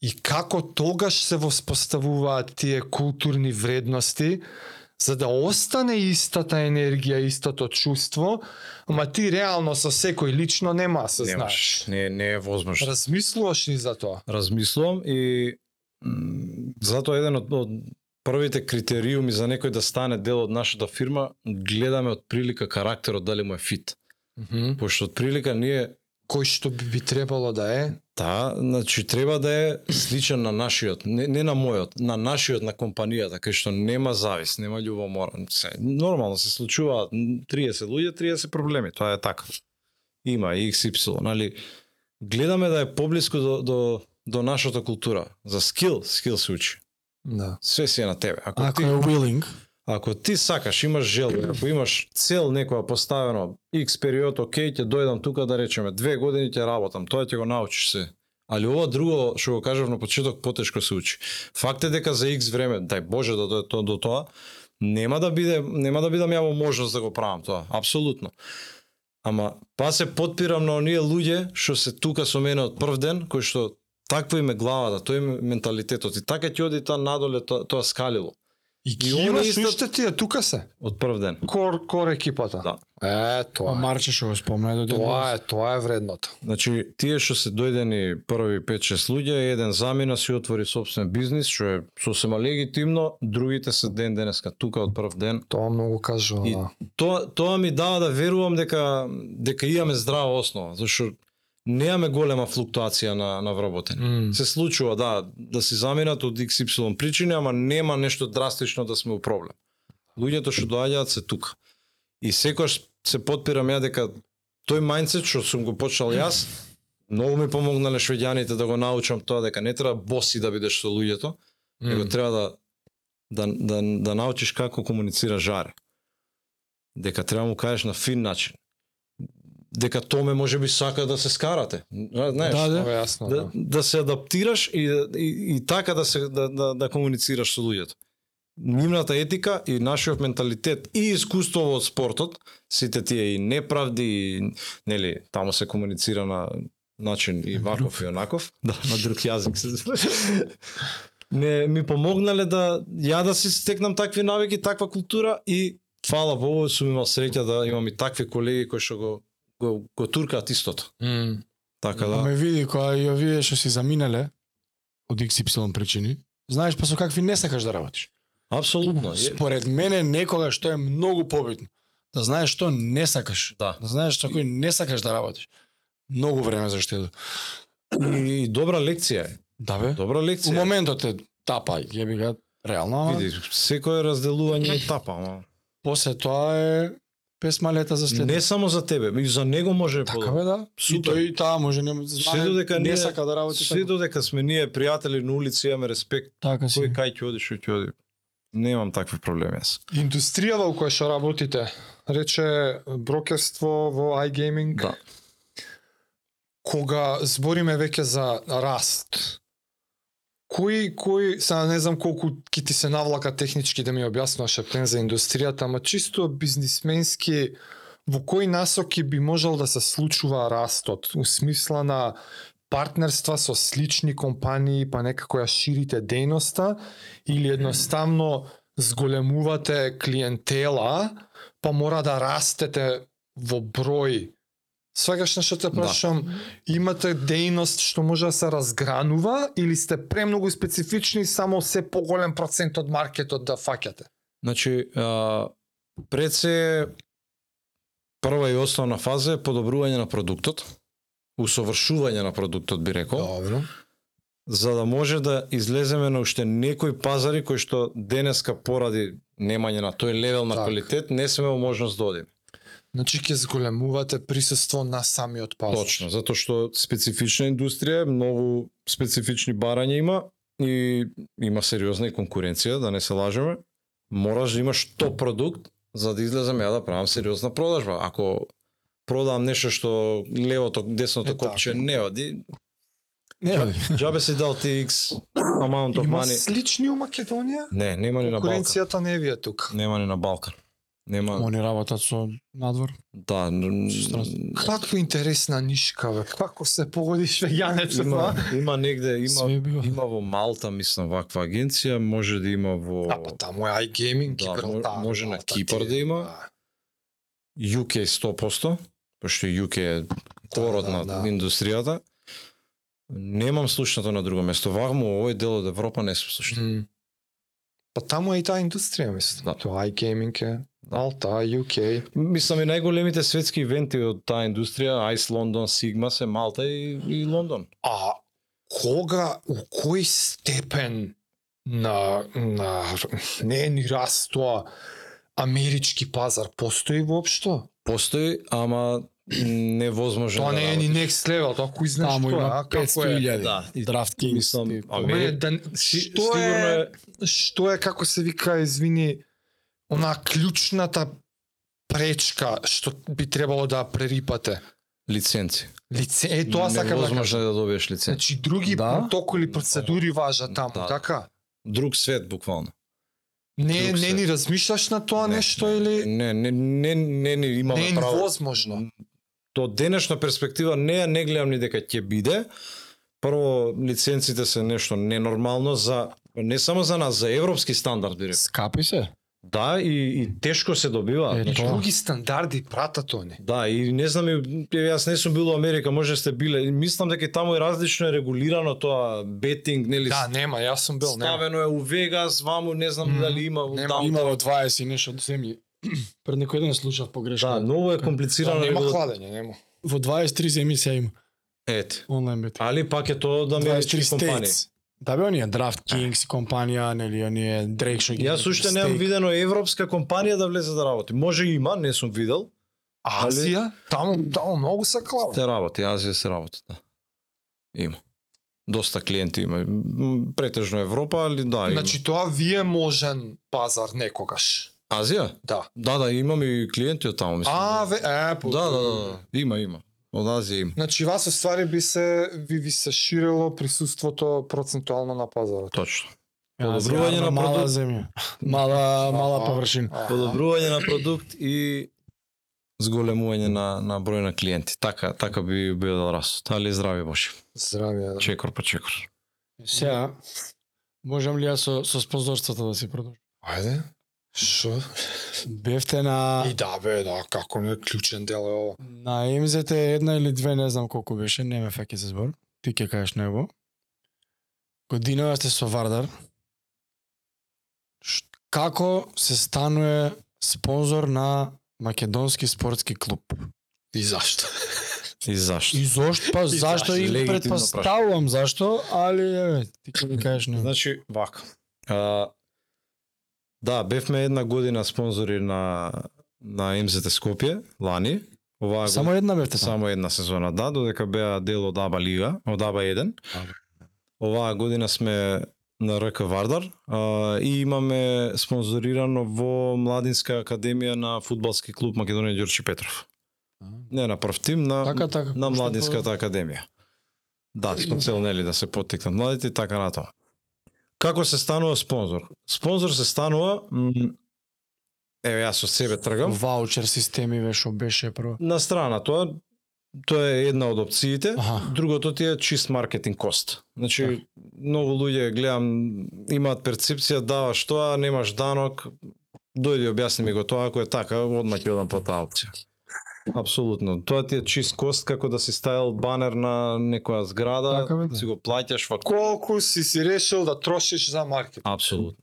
и како тогаш се воспоставуваат тие културни вредности за да остане истата енергија, истото чувство, ама ти реално со секој лично нема да се знаеш.
Не, не е возможно.
Размислуваш ли за тоа?
Размислувам и м, затоа еден од, од првите критериуми за некој да стане дел од нашата фирма, гледаме од прилика карактерот дали му е фит. Пошто од прилика ние
Кој што би, би требало да е?
Да, значи треба да е сличен на нашиот, не, не на мојот, на нашиот на компанијата, кај што нема завис, нема љубомора. Се, нормално се случуваат 30 луѓе, 30 проблеми, тоа е така. Има и XY, нали? Гледаме да е поблиску до, до, до нашата култура. За скил, скил се учи.
Да.
Све си е на тебе. Ако,
ако
ти,
е willing,
ако ти сакаш, имаш желба, ако имаш цел некоја поставено, X период, окей, ќе дојдам тука да речеме, две години ќе работам, тоа ќе го научиш се. Али ова друго, што го кажав на почеток, потешко се учи. Факт е дека за X време, дај Боже да дојде тоа до тоа, нема да биде, нема да бидам ја во можност да го правам тоа, апсолутно. Ама па се подпирам на оние луѓе што се тука со мене од прв ден, кои што таква им е главата, тој им е менталитетот и така ќе оди тоа надоле тоа, тоа скалило.
И ги
И они
имаш
исто-
уште тие, тука се.
од прв ден.
Кор, кор екипата.
Да.
Е, тоа е.
Марче што го спомна до
Тоа е, тоа е вредното.
Значи, тие што се дојдени први 5-6 луѓе, еден замина си отвори собствен бизнис, што е сосема легитимно, другите се ден денеска тука од прв ден.
Тоа многу кажува.
И-
да.
Тоа тоа ми дава да верувам дека дека имаме здрава основа, зашто немаме голема флуктуација на на вработени.
М.
Се случува да да си заминат од XY причини, ама нема нешто драстично да сме у проблем. Луѓето што доаѓаат се тука. И секогаш се подпирам ја дека тој мајндсет што сум го почнал јас, многу ми помогнале швеѓаните да го научам тоа дека не треба боси да бидеш со луѓето, него
М.
треба да, да, да, да научиш како комуницира жаре. Дека треба му кажеш на фин начин. Дека Томе може би сака да се скарате. Зна- Знаеш,
Да, да.
Тоа е јасно, да.
да, да се адаптираш и, и, и така да се да, да, да комуницираш со луѓето. Нивната етика и нашиот менталитет и искуство од спортот, сите тие и неправди, и, нели, таму се комуницира на начин и ваков и онаков, да, на друг јазик се не ми помогнале да ја да си стекнам такви навики, таква култура и фала Богу сум имал среќа да имам и такви колеги кои што го го, го туркаат истото.
М.
Така да.
Ме види кога и овие што си заминале од XY причини, знаеш па со какви не сакаш да работиш.
Апсолутно. е-
Според мене некогаш што е многу побитно. Да знаеш што не сакаш.
Да.
Да знаеш што кој не сакаш да работиш. Многу време за штеду.
И добра лекција е.
Да бе.
Добра
У
лекција.
моментот е тапа, ќе би га реално, ама
Види, секое разделување е тапа, ама
после тоа е песма лета за след.
не само за тебе, и за него може да
така
подобро.
бе да. И
Супер.
тој и таа може не знае,
додека
не
ние-
сака да работи
Се
така.
додека сме ние пријатели на улица, имаме респект,
Така
кој
си.
кај ќе оди, што ќе оди. Немам такви проблеми јас.
Индустријава во која што работите, рече брокерство во iGaming,
Да.
кога збориме веќе за раст, кои, кои, сега не знам колку ќе ти се навлака технички да ми објаснуваш Ептен за индустријата, ама чисто бизнисменски, во кои насоки би можел да се случува растот, у смисла на партнерства со слични компании, па некако ја ширите дејноста, или едноставно зголемувате клиентела, па мора да растете во број. Свегаш на што
Да.
те прашам, имате дејност што може да се разгранува или сте премногу специфични и само се поголем процент од маркетот да фаќате?
Значи, а, пред се прва и основна фаза е подобрување на продуктот, усовршување на продуктот би рекол.
Добро.
за да може да излеземе на уште некои пазари кои што денеска поради немање на тој левел на
Так.
квалитет не сме во можност да одиме.
Значи ќе зголемувате присуство на самиот пазар.
Точно, затоа што специфична индустрија, е, многу специфични барања има и има сериозна и конкуренција, да не се лажеме. Мораш да имаш 100 продукт за да излезам ја да правам сериозна продажба. Ако продавам нешто што левото, десното
Е, така.
копче не оди,
Не, бе.
џабе си дал ти X amount of
Има
money.
слични у Македонија?
Не, нема ни на Балкан.
Конкуренцијата не ви е тука.
Нема ни на Балкан. Нема.
Они работат со надвор.
Да, н-
Со страст.
Да.
Каква интересна нишка, бе. Како се погодиш веганец
има,
тоа?
има негде, има
Све бива.
има во Малта, мислам, ваква агенција, може да има во
А, па таму е iGaming,
Да,
Гибралтар.
мо- може на
Малта,
Кипар
тие.
да има.
Да.
UK 100%, пошто UK е корот
да,
на
да.
индустријата. Немам слушнато на друго место. Ваму во овој дел од Европа не сум слушнато.
Мм. Па таму е и таа индустрија, мислам.
Да.
Тоа iGaming е. Малта, UK.
Мислам и најголемите светски ивенти од таа индустрија, Ice London, Sigma се Малта и, и Лондон.
А кога, у кој степен на, на не е ни растоа амерички пазар постои воопшто?
Постои, ама невозможно.
Тоа
да
не е ни
работи.
next level, тоа кој знаеш
Таму
тоа,
има
а, како е?
500.000
Да, и-
драфт
мислам,
По мене,
Амери-
да, не-
Си-
што
сигурно
е, што е како се вика, извини, она клучната пречка што би требало да ја прерипате.
лиценци.
Лице, е тоа сакам да кажам.
Невозможно е да добиеш лиценци.
Значи други
Да.
протоколи, процедури важат таму,
Да.
така?
Друг свет буквално.
Не,
Друг
не
се.
ни размишляш на тоа
Не,
нешто или
Не, не, не, не, не имаме
не е
право.
невозможно.
До денешна перспектива не ја не гледам ни дека ќе биде. Прво лиценците се нешто ненормално за не само за нас, за европски стандард би рекол.
Скапи се.
Да, и, и тешко се добива.
Е,
Значи,
тоа.
Други стандарди пратат они.
Да, и не знам, и- еве, јас не сум бил во Америка, може сте биле. Мислам дека и таму е различно е регулирано тоа бетинг, нели?
Да, нема, јас сум бил, нема.
ставено е у Вегас, ваму, не знам
Мгм.
дали има во
Нема,
таму.
Имало 20 и нешто земји. Пред некој ден слушав
Да,
погрешно.
ново е комплицирано.
Да, нема
регула-
кладење, нема.
Во 23 земји се има
Ете.
онлайн бетинг.
Али пак е тоа да од амерички
23
компании.
states. Да бе, оние Draft Kings и компанија, нели, оние Drake што ги...
Јас уште немам
Steak.
видено европска компанија да влезе да работи. Може и има, не сум видел.
А
Али-
Азија, таму, таму многу се клава.
Те работи, Азија се работи, да. Има. Доста клиенти има. М, Претежно Европа, али да, има.
Значи тоа ви е можен пазар некогаш.
Азија?
Да.
Да, да, имам и клиенти од таму, мислам.
А, ве, е, по-
да, да, да, да, има, има. Од Азија има.
Значи вас оствари би се ви ви се ширело присуството процентуално на пазарот.
Точно.
Јас
Подобрување
јадам
на
мала
продукт.
земја. Мала мала
А,
површина.
Аха.
Да. Подобрување на продукт и зголемување на на број на клиенти. Така, така би бил растот. Али здрави боши.
Здравје. да.
Чекор по чекор.
Сега можам ли јас со со спонзорството да се продолжам?
Ајде. Шо?
Бевте на
И да бе, да, како не клучен дел е ова.
на МЗТ една или две, не знам колку беше, не ме фаќа се збор. Ти ќе кажеш него. Годинава сте со Вардар. Ш- Како се станува спонзор на македонски спортски клуб?
И зашто?
И зашто?
И зошто? Па зашто
зашто?
и
Легитимно
предпоставувам зашто, али еве, ти ќе ми кажеш не.
Значи, вака. А, да, бевме една година спонзори на на МЗТ Скопје лани. Оваа
Само една бевте само.
само една сезона, да, додека беа дел од АБА лига, од АБА 1.
Аба.
Оваа година сме на РК Вардар а, и имаме спонзорирано во младинска академија на фудбалски клуб Македонија Ѓорчи Петров. Не на прв тим, на
Така, така.
на
пошто
младинската академија. Да, со цел нели да се поттикнат младите и така натаму. Како се станува спонзор? Спонзор се станува м, Еве јас со себе тргам.
Ваучер системи ве што беше прво.
На страна тоа тоа е една од опциите.
Аха.
Другото ти е чист маркетинг кост. Значи
Да.
многу луѓе гледам имаат перцепција даваш тоа, немаш данок. Дојди објасни ми го тоа, ако е така, одма ќе одам по таа опција. Апсолутно. Тоа ти е чист кост како да си ставил банер на некоја зграда,
Така бе, да.
си го плаќаш фактура.
Колку си си решил да трошиш за маркет?
Апсолутно.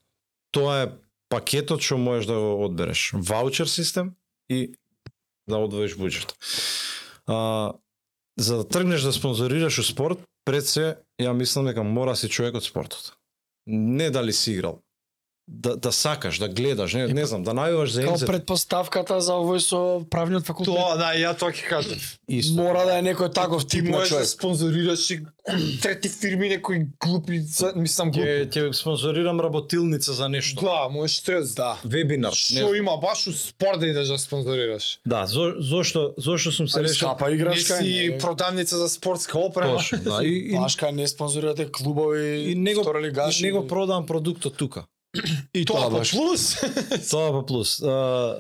Тоа е пакетот што можеш да го одбереш. Ваучер систем и да одвоиш буџет. А, за да тргнеш да спонзорираш у спорт, пред се, ја мислам дека мора си човек од спортот. Не дали си играл. Да, да сакаш, да гледаш, не, не знам, да навиваш за
Као
МЗТ.
предпоставката за овој со правниот факултет.
Тоа, да, ја тоа ќе кажам.
Исто.
Мора да е некој таков
Ти
тип на
можеш да
човек.
спонзорираш и трети фирми некои глупи, за- мислам глупи.
Ќе ќе спонзорирам работилница за нешто.
Да, можеш трез, да.
Вебинар. не
Што
знам.
има баш у спорт да идеш да спонзорираш?
Да, за, зошто зошто сум се
Али
решил
Скапа
Не
играчка.
си
не.
продавница за спортска опрема.
точно. Да, и, и
Пашка не спонзорирате клубови
И не го-
второлигаши.
не го продавам продуктот тука.
и
Тоа по
баш.
плюс.
Тоа па плюс. А,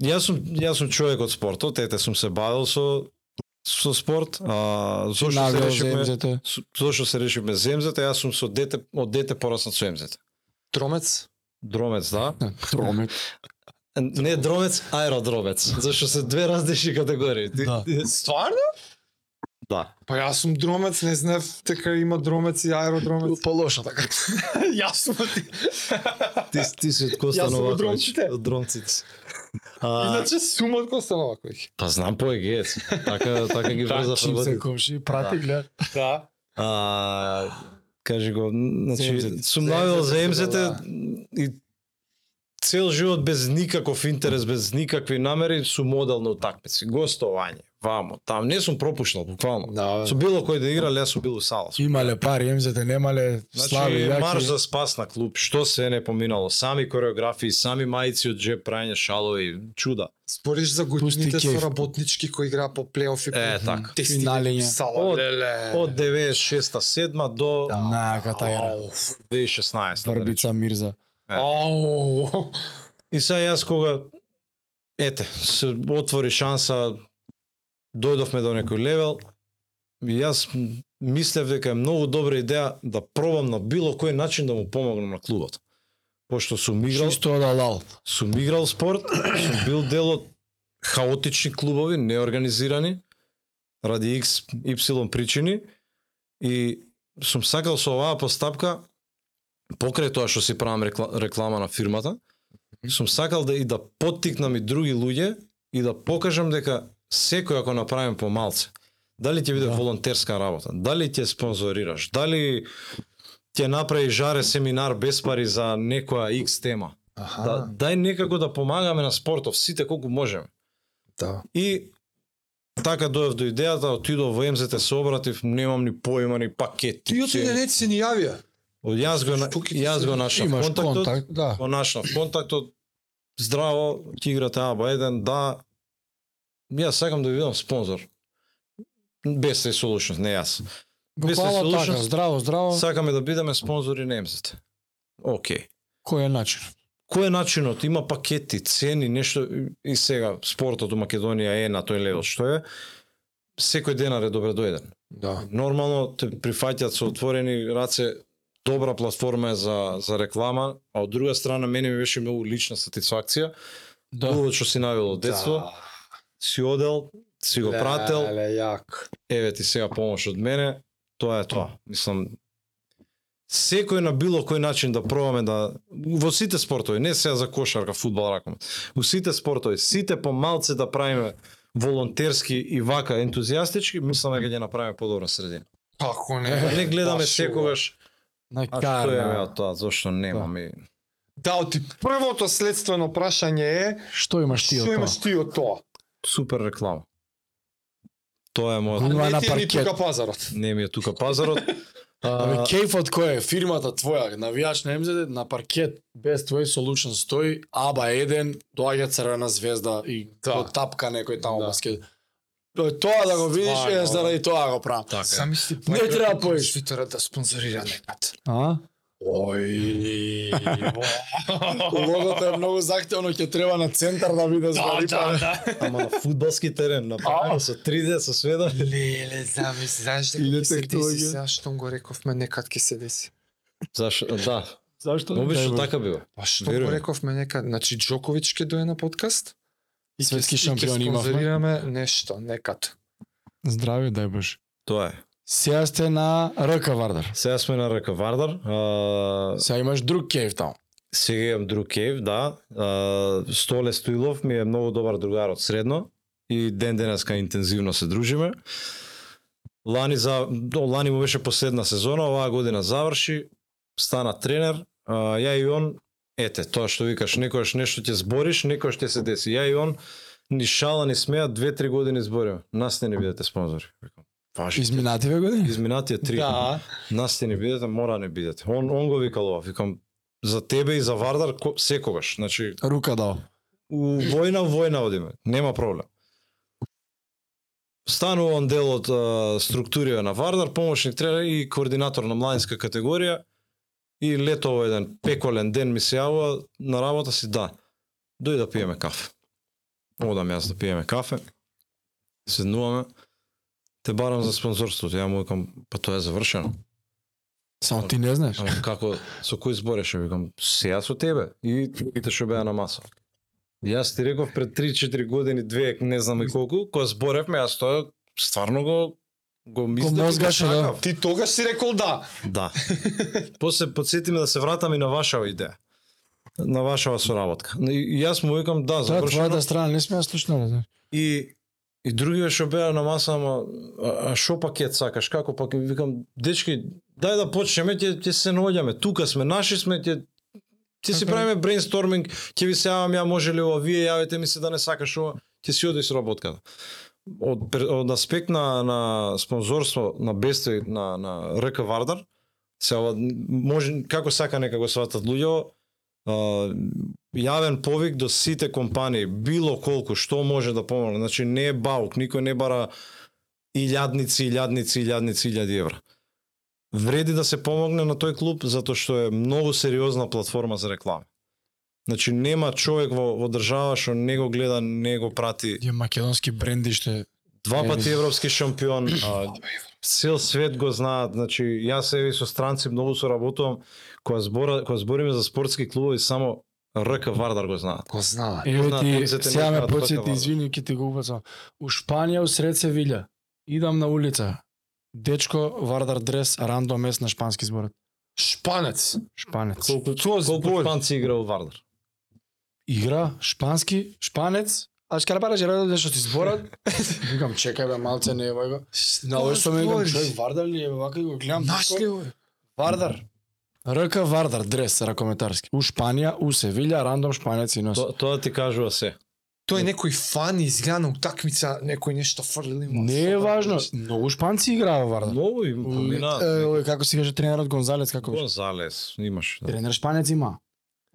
јас сум јас сум човек од спортот, ете сум се бавил со со спорт. А, зошто се
Навел
решивме
за МЗТ.
со- зошто се решивме за МЗТ, јас сум со дете од дете порасна со МЗТ.
Тромец?
Дромец, да.
Тромет.
Не дромец, аеродромец. Зашто се две различни категории. Ти-
Да.
ти-
Стварно?
да.
Па јас сум дромец, не знаев дека има дромец и аеродромец.
Полошо така.
јас сум ти.
Ти ти си од
Јас
Коста
сум од
Новаковиќ,
дромците.
од дромците. А,
Иначе сум од Костановаковиќ.
па знам по ЕГЕЦ. Така така ги
Да,
врза
Чим се комши, прати гледа.
Да.
А, кажи го,
МЗТ.
значи, сум
За
навел
МЗТ,
за МЗТ
да.
и цел живот без никаков интерес, без никакви намери, сум модел на утакмици, гостовање, вамо, там, не сум пропушнал, буквално.
Да.
Со било кој да игра, јас сум бил у сала.
Имале пари, МЗТ немале, слави,
Значи, марш
јаки.
за спас на клуб, што се не поминало, сами кореографии, сами мајци од джеб, прајање шалови, чуда.
Спориш за годините
Пусти кеф.
со работнички кои игра по плейоф и
Е, така.
тести
финалење.
Сала,
Од-
леле.
Од 96-та, 7 до
Да, нака тајра.
Ау.
2016 да речем.
Врбица Мирза.
Ау.
И сега јас кога ете, се отвори шанса дојдовме до некој левел, и јас м, мислев дека е многу добра идеја да пробам на било кој начин да му помогнам на клубот. Пошто сум играл,
Чисто од алал.
сум играл спорт, сум бил дел од хаотични клубови, неорганизирани, ради X, Y причини и сум сакал со оваа постапка покрај тоа што си правам рекла, реклама на фирмата, сум сакал да и да поттикнам и други луѓе и да покажам дека секој ако направим помалце, дали ќе биде
Да.
волонтерска работа, дали ќе спонзорираш, дали ќе направи жаре семинар без пари за некоја X тема.
Аха,
Да, дај некако да помагаме на спортов, сите колку можеме.
да.
И така доев до идејата, отидов во МЗТ се обратив, немам ни појма ни пакет.
Ти отиде не ти се ни јавија.
Јас го на-
Штуки ти
јас
се-
го нашав
Имаш
контактот
контакт, да.
го нашнав контактот, здраво, ќе играте аба еден, да, јас сакам да ви видам спонзор. Без се солучност, не јас.
Буквално
Мислиш,
така,
слушам.
здраво, здраво.
Сакаме да бидеме спонзори на МЗТ. Океј.
Кој е начин?
Кој е начинот? Има пакети, цени, нешто и сега спортот у Македонија е на тој левел што е. Секој денар е добре доеден.
Да.
Нормално те прифаќаат со отворени раце добра платформа е за за реклама, а од друга страна мене ми беше многу лична сатисфакција. Да.
Да.
Лудо што си навел од детство. си одел, си го прател,
Да, Леле, јак.
еве ти сега помош од мене, тоа е тоа. Мислам, секој на било кој начин да пробаме да во сите спортови, не сега за кошарка, фудбал, ракомет. Во сите спортови, сите помалце да правиме волонтерски и вака ентузијастички, мислам дека ќе направиме подобра средина.
Како
Да
не?
не гледаме
баш,
секогаш
На
а што е бе,
кара.
од тоа, зошто немаме.
Да, оти првото следствено прашање е
Што имаш ти од
што
тоа?
имаш ти од тоа?
Супер реклама. Тоа е
А
мојот,
Гума
не
на
ти е ни
паркет.
тука пазарот.
не ми е тука пазарот.
Ами
А,
кефот кој е? Фирмата твоја, навијач на МЗД, на паркет, без твој солучен стои, аба еден, доаѓа црвена звезда и
Да.
го тапка некој таму
Да.
баскет. Тоа тоа да го видиш е
Стварно.
заради тоа го правам.
така. е.
Сами си
Не треба поиш.
Твитера да спонзорира некад.
А?
Ој.
Логото е многу захтевно, ќе треба на центар да биде
Да,
збари
да, да.
Ама на фудбалски терен, направено со 3D, со све да.
Леле, замисли, знаеш дека
И
ќе се
детектологија.
деси сега што го рековме некад ќе се деси.
Зашто? Да.
Зашто?
Обично така бива.
Па што
Верувам.
го рековме некад, значи Џоковиќ ќе дое на подкаст. И ќе-
Светски
и ќе
шампион имавме.
спонзорираме нешто некад.
Здраве, дај Боже.
Тоа е.
Сега сте на РК Вардар.
Сега сме на Рака Вардар. А,
Сега имаш друг кеф таму.
сега имам друг кев, да. А, Столе Стоилов ми е многу добар другар од средно и ден денеска интензивно се дружиме. Лани за до, лани му беше последна сезона, оваа година заврши, стана тренер. А, ја и он ете, тоа што викаш, некогаш нешто ќе збориш, некогаш ќе се деси. Ја и он ни шала ни смеа 2-3 години збориме. Нас не ни бидете спонзори. Викам, Важи.
Изминативе години?
Изминатија 3.
Да.
Нас не бидете, мора не бидете. Он он го викал ова, викам за тебе и за Вардар ко, секогаш. Значи
Рука дао.
у војна војна одиме, нема проблем. Станува он дел од а, структурија на Вардар, помошник тренер и координатор на младинска категорија. И лето овој еден пеколен ден ми се јавува на работа си, да. Дојди да пиеме кафе. Одам јас да пиеме кафе. Седнуваме. Те барам за спонзорството. Ја му викам, па тоа е завршено.
Само ти не знаеш.
Ама како, со кој збореше? Викам, сега со тебе. И другите што беа на маса. Јас ти реков пред 3-4 години, две, не знам и колку, кога зборевме, јас тоа стварно го го мислев. и
мозгаше, да.
сакав.
Ти тогаш си рекол да.
Да. После подсетиме да се вратам и на вашава идеја. На вашава соработка. И и јас му викам да,
Тоа
завршено.
твојата страна не сме ја да. слушнале, знаеш.
И и другиве што беа на маса, ама а а шо пакет сакаш, како пак викам дечки, дај да почнеме, ќе ќе се наоѓаме. Тука сме, наши сме, ќе ќе си
Така е.
правиме брейнсторминг, ќе ви се јавам ја може ли ова, вие јавете ми се да не сакаш ова, ќе си оди сработката. Од, пер- од аспект на, на спонзорство на Бестој на, на РК Вардар, се ова, може, како сака нека го сватат луѓе, а, јавен повик до сите компании, било колку, што може да помогне. Значи не е баук, никој не бара илјадници, илјадници, илјадници, илјади евра. Вреди да се помогне на тој клуб затоа што е многу сериозна платформа за реклама. Значи нема човек во, во држава што не го гледа, не го прати.
Тие македонски бренди што
Два
Еми.
пати европски шампион. а, Цел свет го знаат. Значи, јас еве и со странци многу соработувам. Кога, збора, кога збориме за спортски клубови, само РК Вардар го знаат.
Го знае.
Еве
Знаат,
ти
турците
сега
не
ме
знаат како
подсети,
владат.
извини, ќе ти го упацам. У Шпанија, у сред Севилја, идам на улица, дечко, вардар дрес, рандо мес на шпански зборот.
Шпанец.
Шпанец.
Колку,
Тоа
колку
збор.
шпанци игра у Вардар?
Игра, шпански, шпанец, а шкарпара ќе радат што ти зборат. Викам, чекај бе, малце не е го. На овој што ме викам,
збориш?
човек, вардар ли е, бе, вака и го гледам.
Нашли го.
Вардар. РК Вардар, дрес, ракометарски. У Шпанија, у Севилја, рандом шпанец и нос.
То, тоа ти кажува се.
Тој некој фан изгледа на утакмица, некој нешто фрлил има.
Не е важно, многу шпанци играа во
Да.
Вардар.
Многу им
Е,
помина.
ој, како се каже тренерот Гонзалес, како беше?
Гонзалес, имаш. да.
Тренер Шпанец има.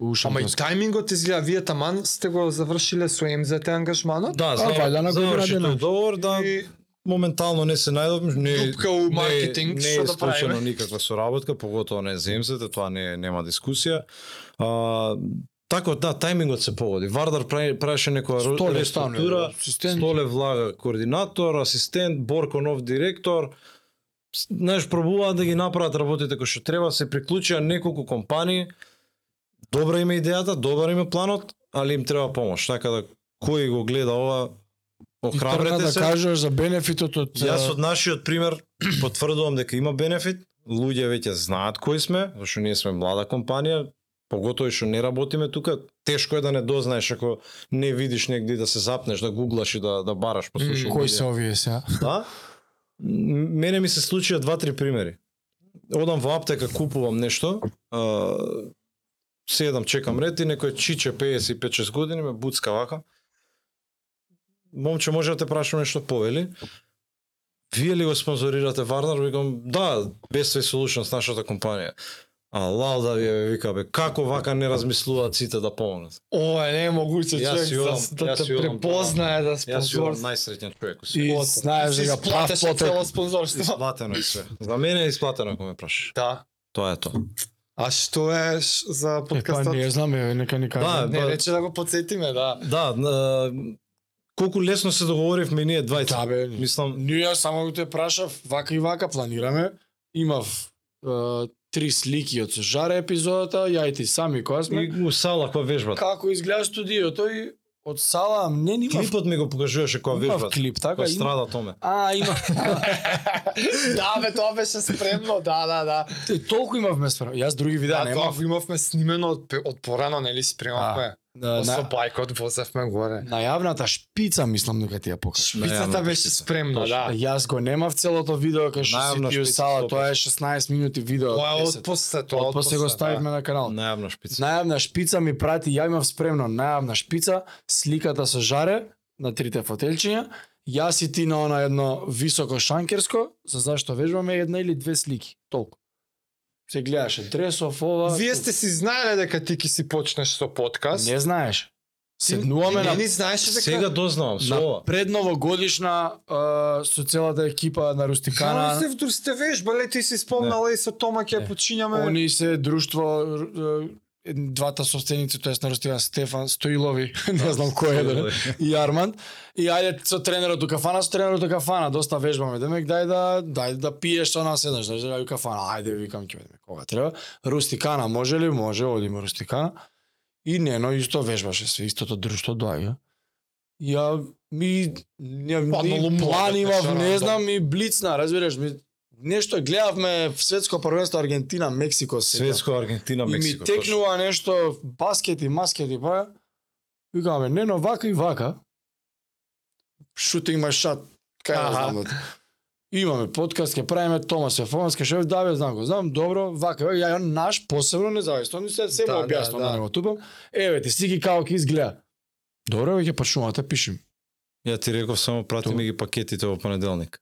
У
Ама и
шампионска.
тајмингот изгледа, вие таман сте го завршиле со МЗТ ангажманот?
Да,
А, па, вајда на
за,
година
заврши
дена.
тој договор, да,
И
моментално не се најдов, не,
Дупка у маркетинг,
не, не
што да
е исклучено
правиме?
никаква соработка, поготово не земзете, тоа не нема дискусија. А, Тако, да, тајмингот се погоди. Вардар прави- правеше некоја ро-
Столе
па, реструктура,
да.
стане, асистент.
Столе влага координатор, асистент, Борко нов директор. С- Знаеш, пробуваа да ги направат работите кои што треба, се приклучија неколку компании. Добра им е идејата, добар им е планот, али им треба помош. Така да кој го гледа ова,
И тргна
охрабрете
да
се.
кажеш за бенефитот од
Јас
е,
од нашиот пример потврдувам дека има бенефит, луѓе веќе знаат кои сме, зашто ние сме млада компанија, поготоа и што не работиме тука, тешко е да не дознаеш ако не видиш негде и да се запнеш, да гуглаш и да да бараш по социјалните
кој
медии.
се овие сега.
Да? М, Мене ми се случија два-три примери. Одам во аптека, купувам нешто, а, седам, чекам ред и некој чиче 55-6 години ме буцка вака. Момче, може да те прашам нешто повели? Вие ли го спонзорирате Варнар? Викам, да, Best Way Solutions, нашата компанија. А лал да ви е, бе, вика, бе, како вака не размислуваат сите да помогнат?
Ова не е могуќе
Јас
човек
си одам,
за- да
јас си
те
одам,
препознае да
Јас сум
спонзорство.
најсреќен човек. у светот.
И знаеш да
Ти си
дека прав
исплатеше
потек.
цело спонзорство.
Исплатено е све. За мене е исплатено, ако ме прашаш.
Да.
Тоа е тоа.
А што е ш- за
Е, па
подкастот?
не знам, е, нека ни
Да,
кажа.
Не,
ба-
рече да го подсетиме, да.
Да, на, колку лесно се договоривме ние двајца.
Да, бе.
Мислам,
Ние само го те прашав, вака и вака планираме. Имав е, три слики од Сожара епизодата, ја и ти сами која сме.
и у сала која вежбата.
Како изгледа студиото и од сала не ни имав,
Клипот ми го покажуваше која
имав
вежбата.
клип, така
Кој
има.
страда томе.
А, има.
да, бе, тоа беше спремно, да, да, да.
Е, Толку имавме спрема. Јас други видеа
Да, тоа
немав.
го имавме снимено од, пе- од порано, нели, спремавме.
На,
Со
на,
бајкот возевме горе.
најавната шпица мислам дека ти ја покажа.
Шпицата
Најавна
беше
шпица.
спремна,
Точно.
да.
Јас го немав целото видео кај што си
Најавна
ти у
шпица,
сала,
сто
тоа е 16 минути видео.
Тоа е да. од
10.
после, тоа
Тоа
од
после го
после,
ставивме на канал.
Најавна шпица.
Најавна шпица ми прати, ја имав спремно најавна шпица, сликата со жаре на трите фотелчиња, јас и ти на она едно високо шанкерско, за зашто вежбаме една или две слики, толку. Се гледаше дресов ова.
Вие сте си знаеле дека ти ки си почнеш со подкаст.
Не знаеш.
Ти-
Седнуваме
ти
на
Не ни знаеше дека...
Сега дознавам со
Значи така- на
ова.
предновогодишна а, со целата екипа на
Кана...
Рустикана.
се вдрсте вежбале, ти си спомнала и со Тома ќе
Не.
почињаме.
Они се друштво р- е, двата соценици, тоест на Рустикан Стефан Стоилови, не знам кој е да не, и Арманд. И ајде со тренерот у кафана, со тренерот у кафана, доста вежбаме. Демек дај да дај да пиеш со нас еднаш, дај да у кафана. Ајде викам ќе одиме кога треба. Рустикана може ли? Може, одиме Рустикана. И Нено исто вежбаше се, истото друштво доаѓа. Ја ми не,
Паднало
ни
му,
план
бе,
имав,
пешо,
не
рандом.
знам, и блицна, разбираш ми. Нешто гледавме светско првенство Аргентина, Мексико, се сетам.
Светско Аргентина
И
Мексико.
ми текнува нешто баскет и маскет и па. Викаме, не, но вака и вака. Шутинг мај шат. Кај да
Аха.
знам. бе. Имаме подкаст, ќе правиме Тома Сефонска, шеф, да бе, знам го, знам, добро, вака, вака, ја наш посебно независно, ни се се
Да, да,
да, објаснувам
да.
да, да. него тупам. Еве ти сиги како ќе изгледа. Добро, веќе почнувате, пишем.
Ја ти реков само прати ми ги пакетите во понеделник.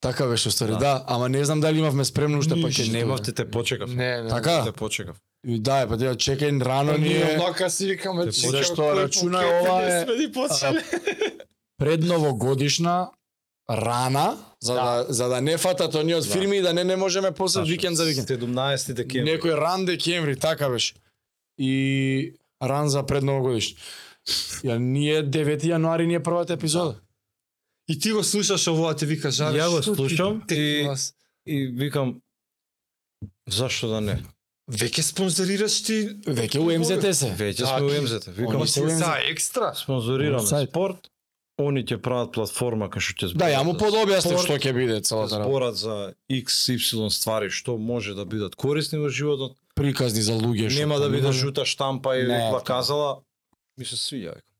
Така беше стари,
Да.
да. да, ама не знам дали имавме спремно уште па
Ништо.
пакет.
Немавте те почекав.
Не, не.
Така?
Те почекав.
И Да, е, па да чекај рано
ние
ние.
онака си викаме
Те
чека,
зашто
кој
рачуна
пакет
да ова
да
не
е-
сме ни почеле.
предновогодишна рана за да, за да не фатат оние од
Да.
фирми и да не не можеме после викенд за викенд.
17 декември.
Некој ран декември, така беше. И ран за предновогодишна. Ја ние 9 јануари ни е првата епизода.
И ти го слушаш овоа ти вика жар.
Ја го
што ти
слушам
текнуваш?
И викам, зашто да не?
Веќе спонзорираш ти
Да. Веќе у МЗТ се.
Веќе
Так.
сме во МЗТ. Викам,
Они се УМЗТ.
за екстра.
спонзорираме
Сайт.
спорт, они ќе прават платформа кај што ќе
Да, ја му
зборат за
подобјаснив
спорт,
што ќе биде
ќе
целата работа.
зборат за XY ствари што може да бидат корисни во животот.
Приказни за луѓе што
Нема да биде
планираме.
жута штампа и
Не,
рекла
така.
казала. Ми се свиѓа. викам.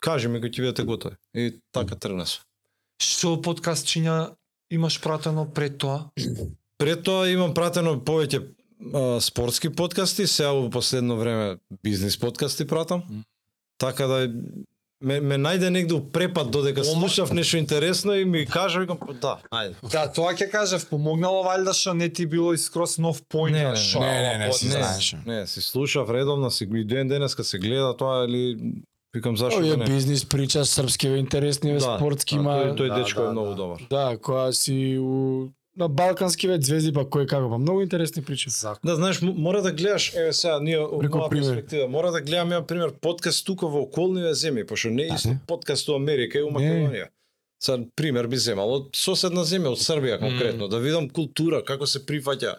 Кажи ми кога ќе бидете готови. И така тргна се.
Што подкастчиња имаш пратено пред тоа?
Пред тоа имам пратено повеќе а, спортски подкасти, сега во последно време бизнис подкасти пратам.
Мм.
Така да ме, ме најде негде у препад додека слушав нешто интересно и ми кажа викам «Па да, ајде.
Да, тоа ќе кажав, помогнало валјда што не ти било и скрос нов поинт.
Не, не,
шо,
не, не,
ама,
не,
па,
си знаеше.
Не, си слушав редовно, си го- и ден денеска се гледа тоа или викам зашто
Овие
да не.
бизнис прича српски ве интересни ве спортски
да,
има.
Тој, тој
Да,
дечко
да,
е многу
да.
добар.
Да, која си у на балкански ве звезди па кој како, па многу интересни причи.
Зак...
Да, знаеш, м- мора да гледаш, еве сега, ние од
Преку
моја
пример.
перспектива, мора да гледам, ја, пример, подкаст тука во околниве земји, пошто не е
Да,
исто
не.
подкаст у Америка и у
Не.
Македонија. Са, пример би земал од соседна земја, од Србија конкретно, да видам култура, како се прифаќа,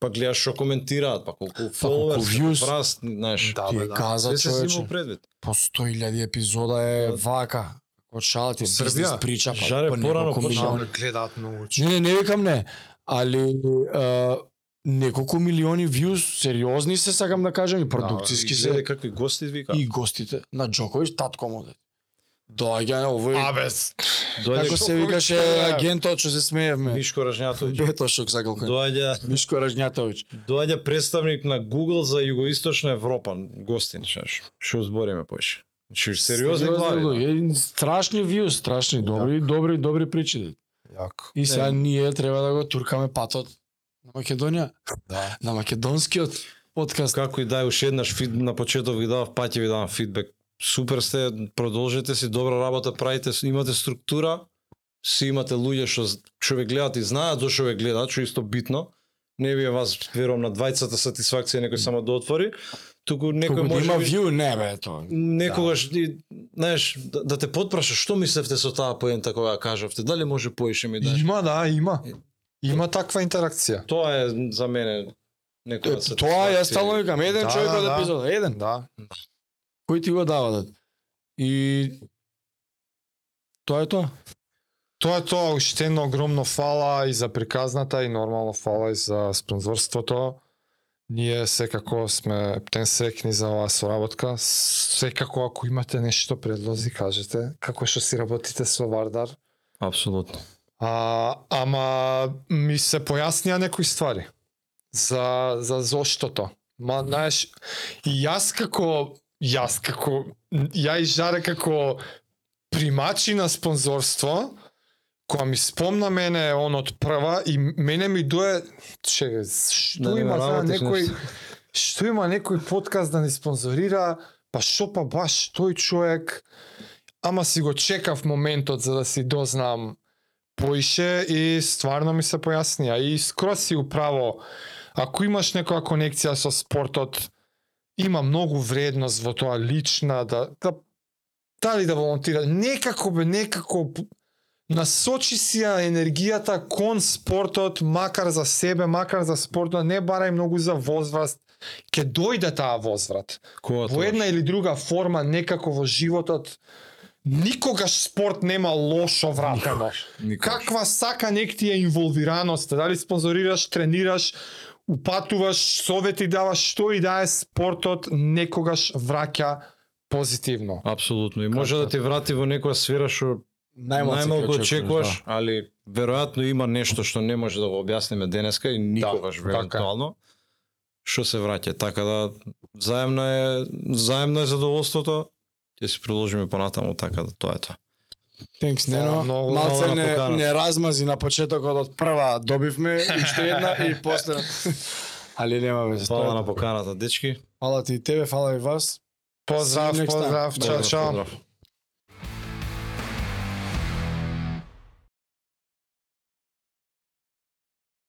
па гледаш што коментираат, па колку
views.
followers, раст, знаеш.
Да,
Ти
бе,
е
да.
каза
Се се има
човече,
предвид.
по 100.000 епизода е
Да.
вака. Како шала ти
Србија?
бизнис прича, па
Жаре,
по
порано
неколку
почна.
милиони.
Шо, да гледаат многу.
Не, не, не викам не, али а, неколку милиони вјуз, сериозни се сакам да кажам и продукциски
и да.
се
гледај какви гости вика.
и гостите на Джокович татко му дед. Доаѓа овој
Абе,
како се
Джокович,
викаше
да.
агентот што се смеевме.
Мишко Ражњатовиќ.
Бето шок за колку.
Доаѓа
Мишко Ражњатович.
доаѓа представник на Google за југоисточна Европа, гостин, знаеш. Што збориме поише. Значи сериозни глави. да.
луѓе, страшни вјуз, страшни добри, добри, добри причи. дед.
Јако.
И сега
Не.
ние треба да го туркаме патот на Македонија,
Да.
на македонскиот подкаст.
Како и дај уште еднаш фид на почеток ви дадов, паќе ви давам фидбек. Супер сте, продолжете си, добра работа правите, с- имате структура, си имате луѓе што з- што ве гледаат и знаат зошто ве гледаат, што е исто битно. Не ви е вас верувам на двајцата сатисфакција некој само да отвори, туку некој
Туку да
може
има
би-
вју, не бе, тоа.
некогаш ти знаеш да, да те потпраша што мислевте со таа поента кога ја кажавте, дали може поише ми да.
Има, да, има. Има таква интеракција.
Тоа е за мене да
Е,
некоја
Тоа
сатисфакција.
ја стално викам, еден
Да,
човек
да,
од
да.
епизода, еден.
Да.
Кој ти го дава дед? И тоа е тоа.
Тоа е тоа, уште едно огромно фала и за приказната и нормално фала и за спонзорството. Ние секако сме птен срекни за оваа соработка. Секако ако имате нешто предлози, кажете како што си работите со Вардар.
Апсолутно.
А, ама ми се појаснија некои ствари за за заштото. Ма знаеш, и јас како јас како ја и Жаре како примачи на спонзорство која ми спомна мене он од прва и мене ми дое чега што
Да не ме
има за
работиш
некој
нешто.
што има некој подкаст да ни спонзорира па што па баш тој човек ама си го чекав моментот за да си дознам поише и стварно ми се појаснија и скрос си управо ако имаш некоја конекција со спортот има многу вредност во тоа лична да, да дали да волонтира некако бе некако п- насочи си ја енергијата кон спортот макар за себе макар за спортот не барај многу за возвраст ќе дојде таа возврат
Кога
во една или друга форма некако во животот никогаш спорт нема лошо вратено. Каква сака нек ти е инволвираност, дали спонзорираш, тренираш, упатуваш, совети даваш, што и да е спортот некогаш враќа позитивно.
Апсолутно. И може да те врати во некоја сфера што најмалку очекуваш, али веројатно има нешто што не може да го објасниме денеска и никогаш
така е.
евентуално што се враќа. Така да заемно е заемно е задоволството. Ќе си продолжиме понатаму така да тоа е тоа.
Тенкс,
Фала
да. Нено.
многу,
Малце
фала на
не,
поканата.
не размази на почетокот од прва добивме и уште една и после. Али нема веќе.
Фала
Па,
на поканата, дечки.
Фала ти и тебе, фала и вас.
Поздрав,
See you next time.
поздрав, чао,
Pozdrav,
чао.
pozdrav.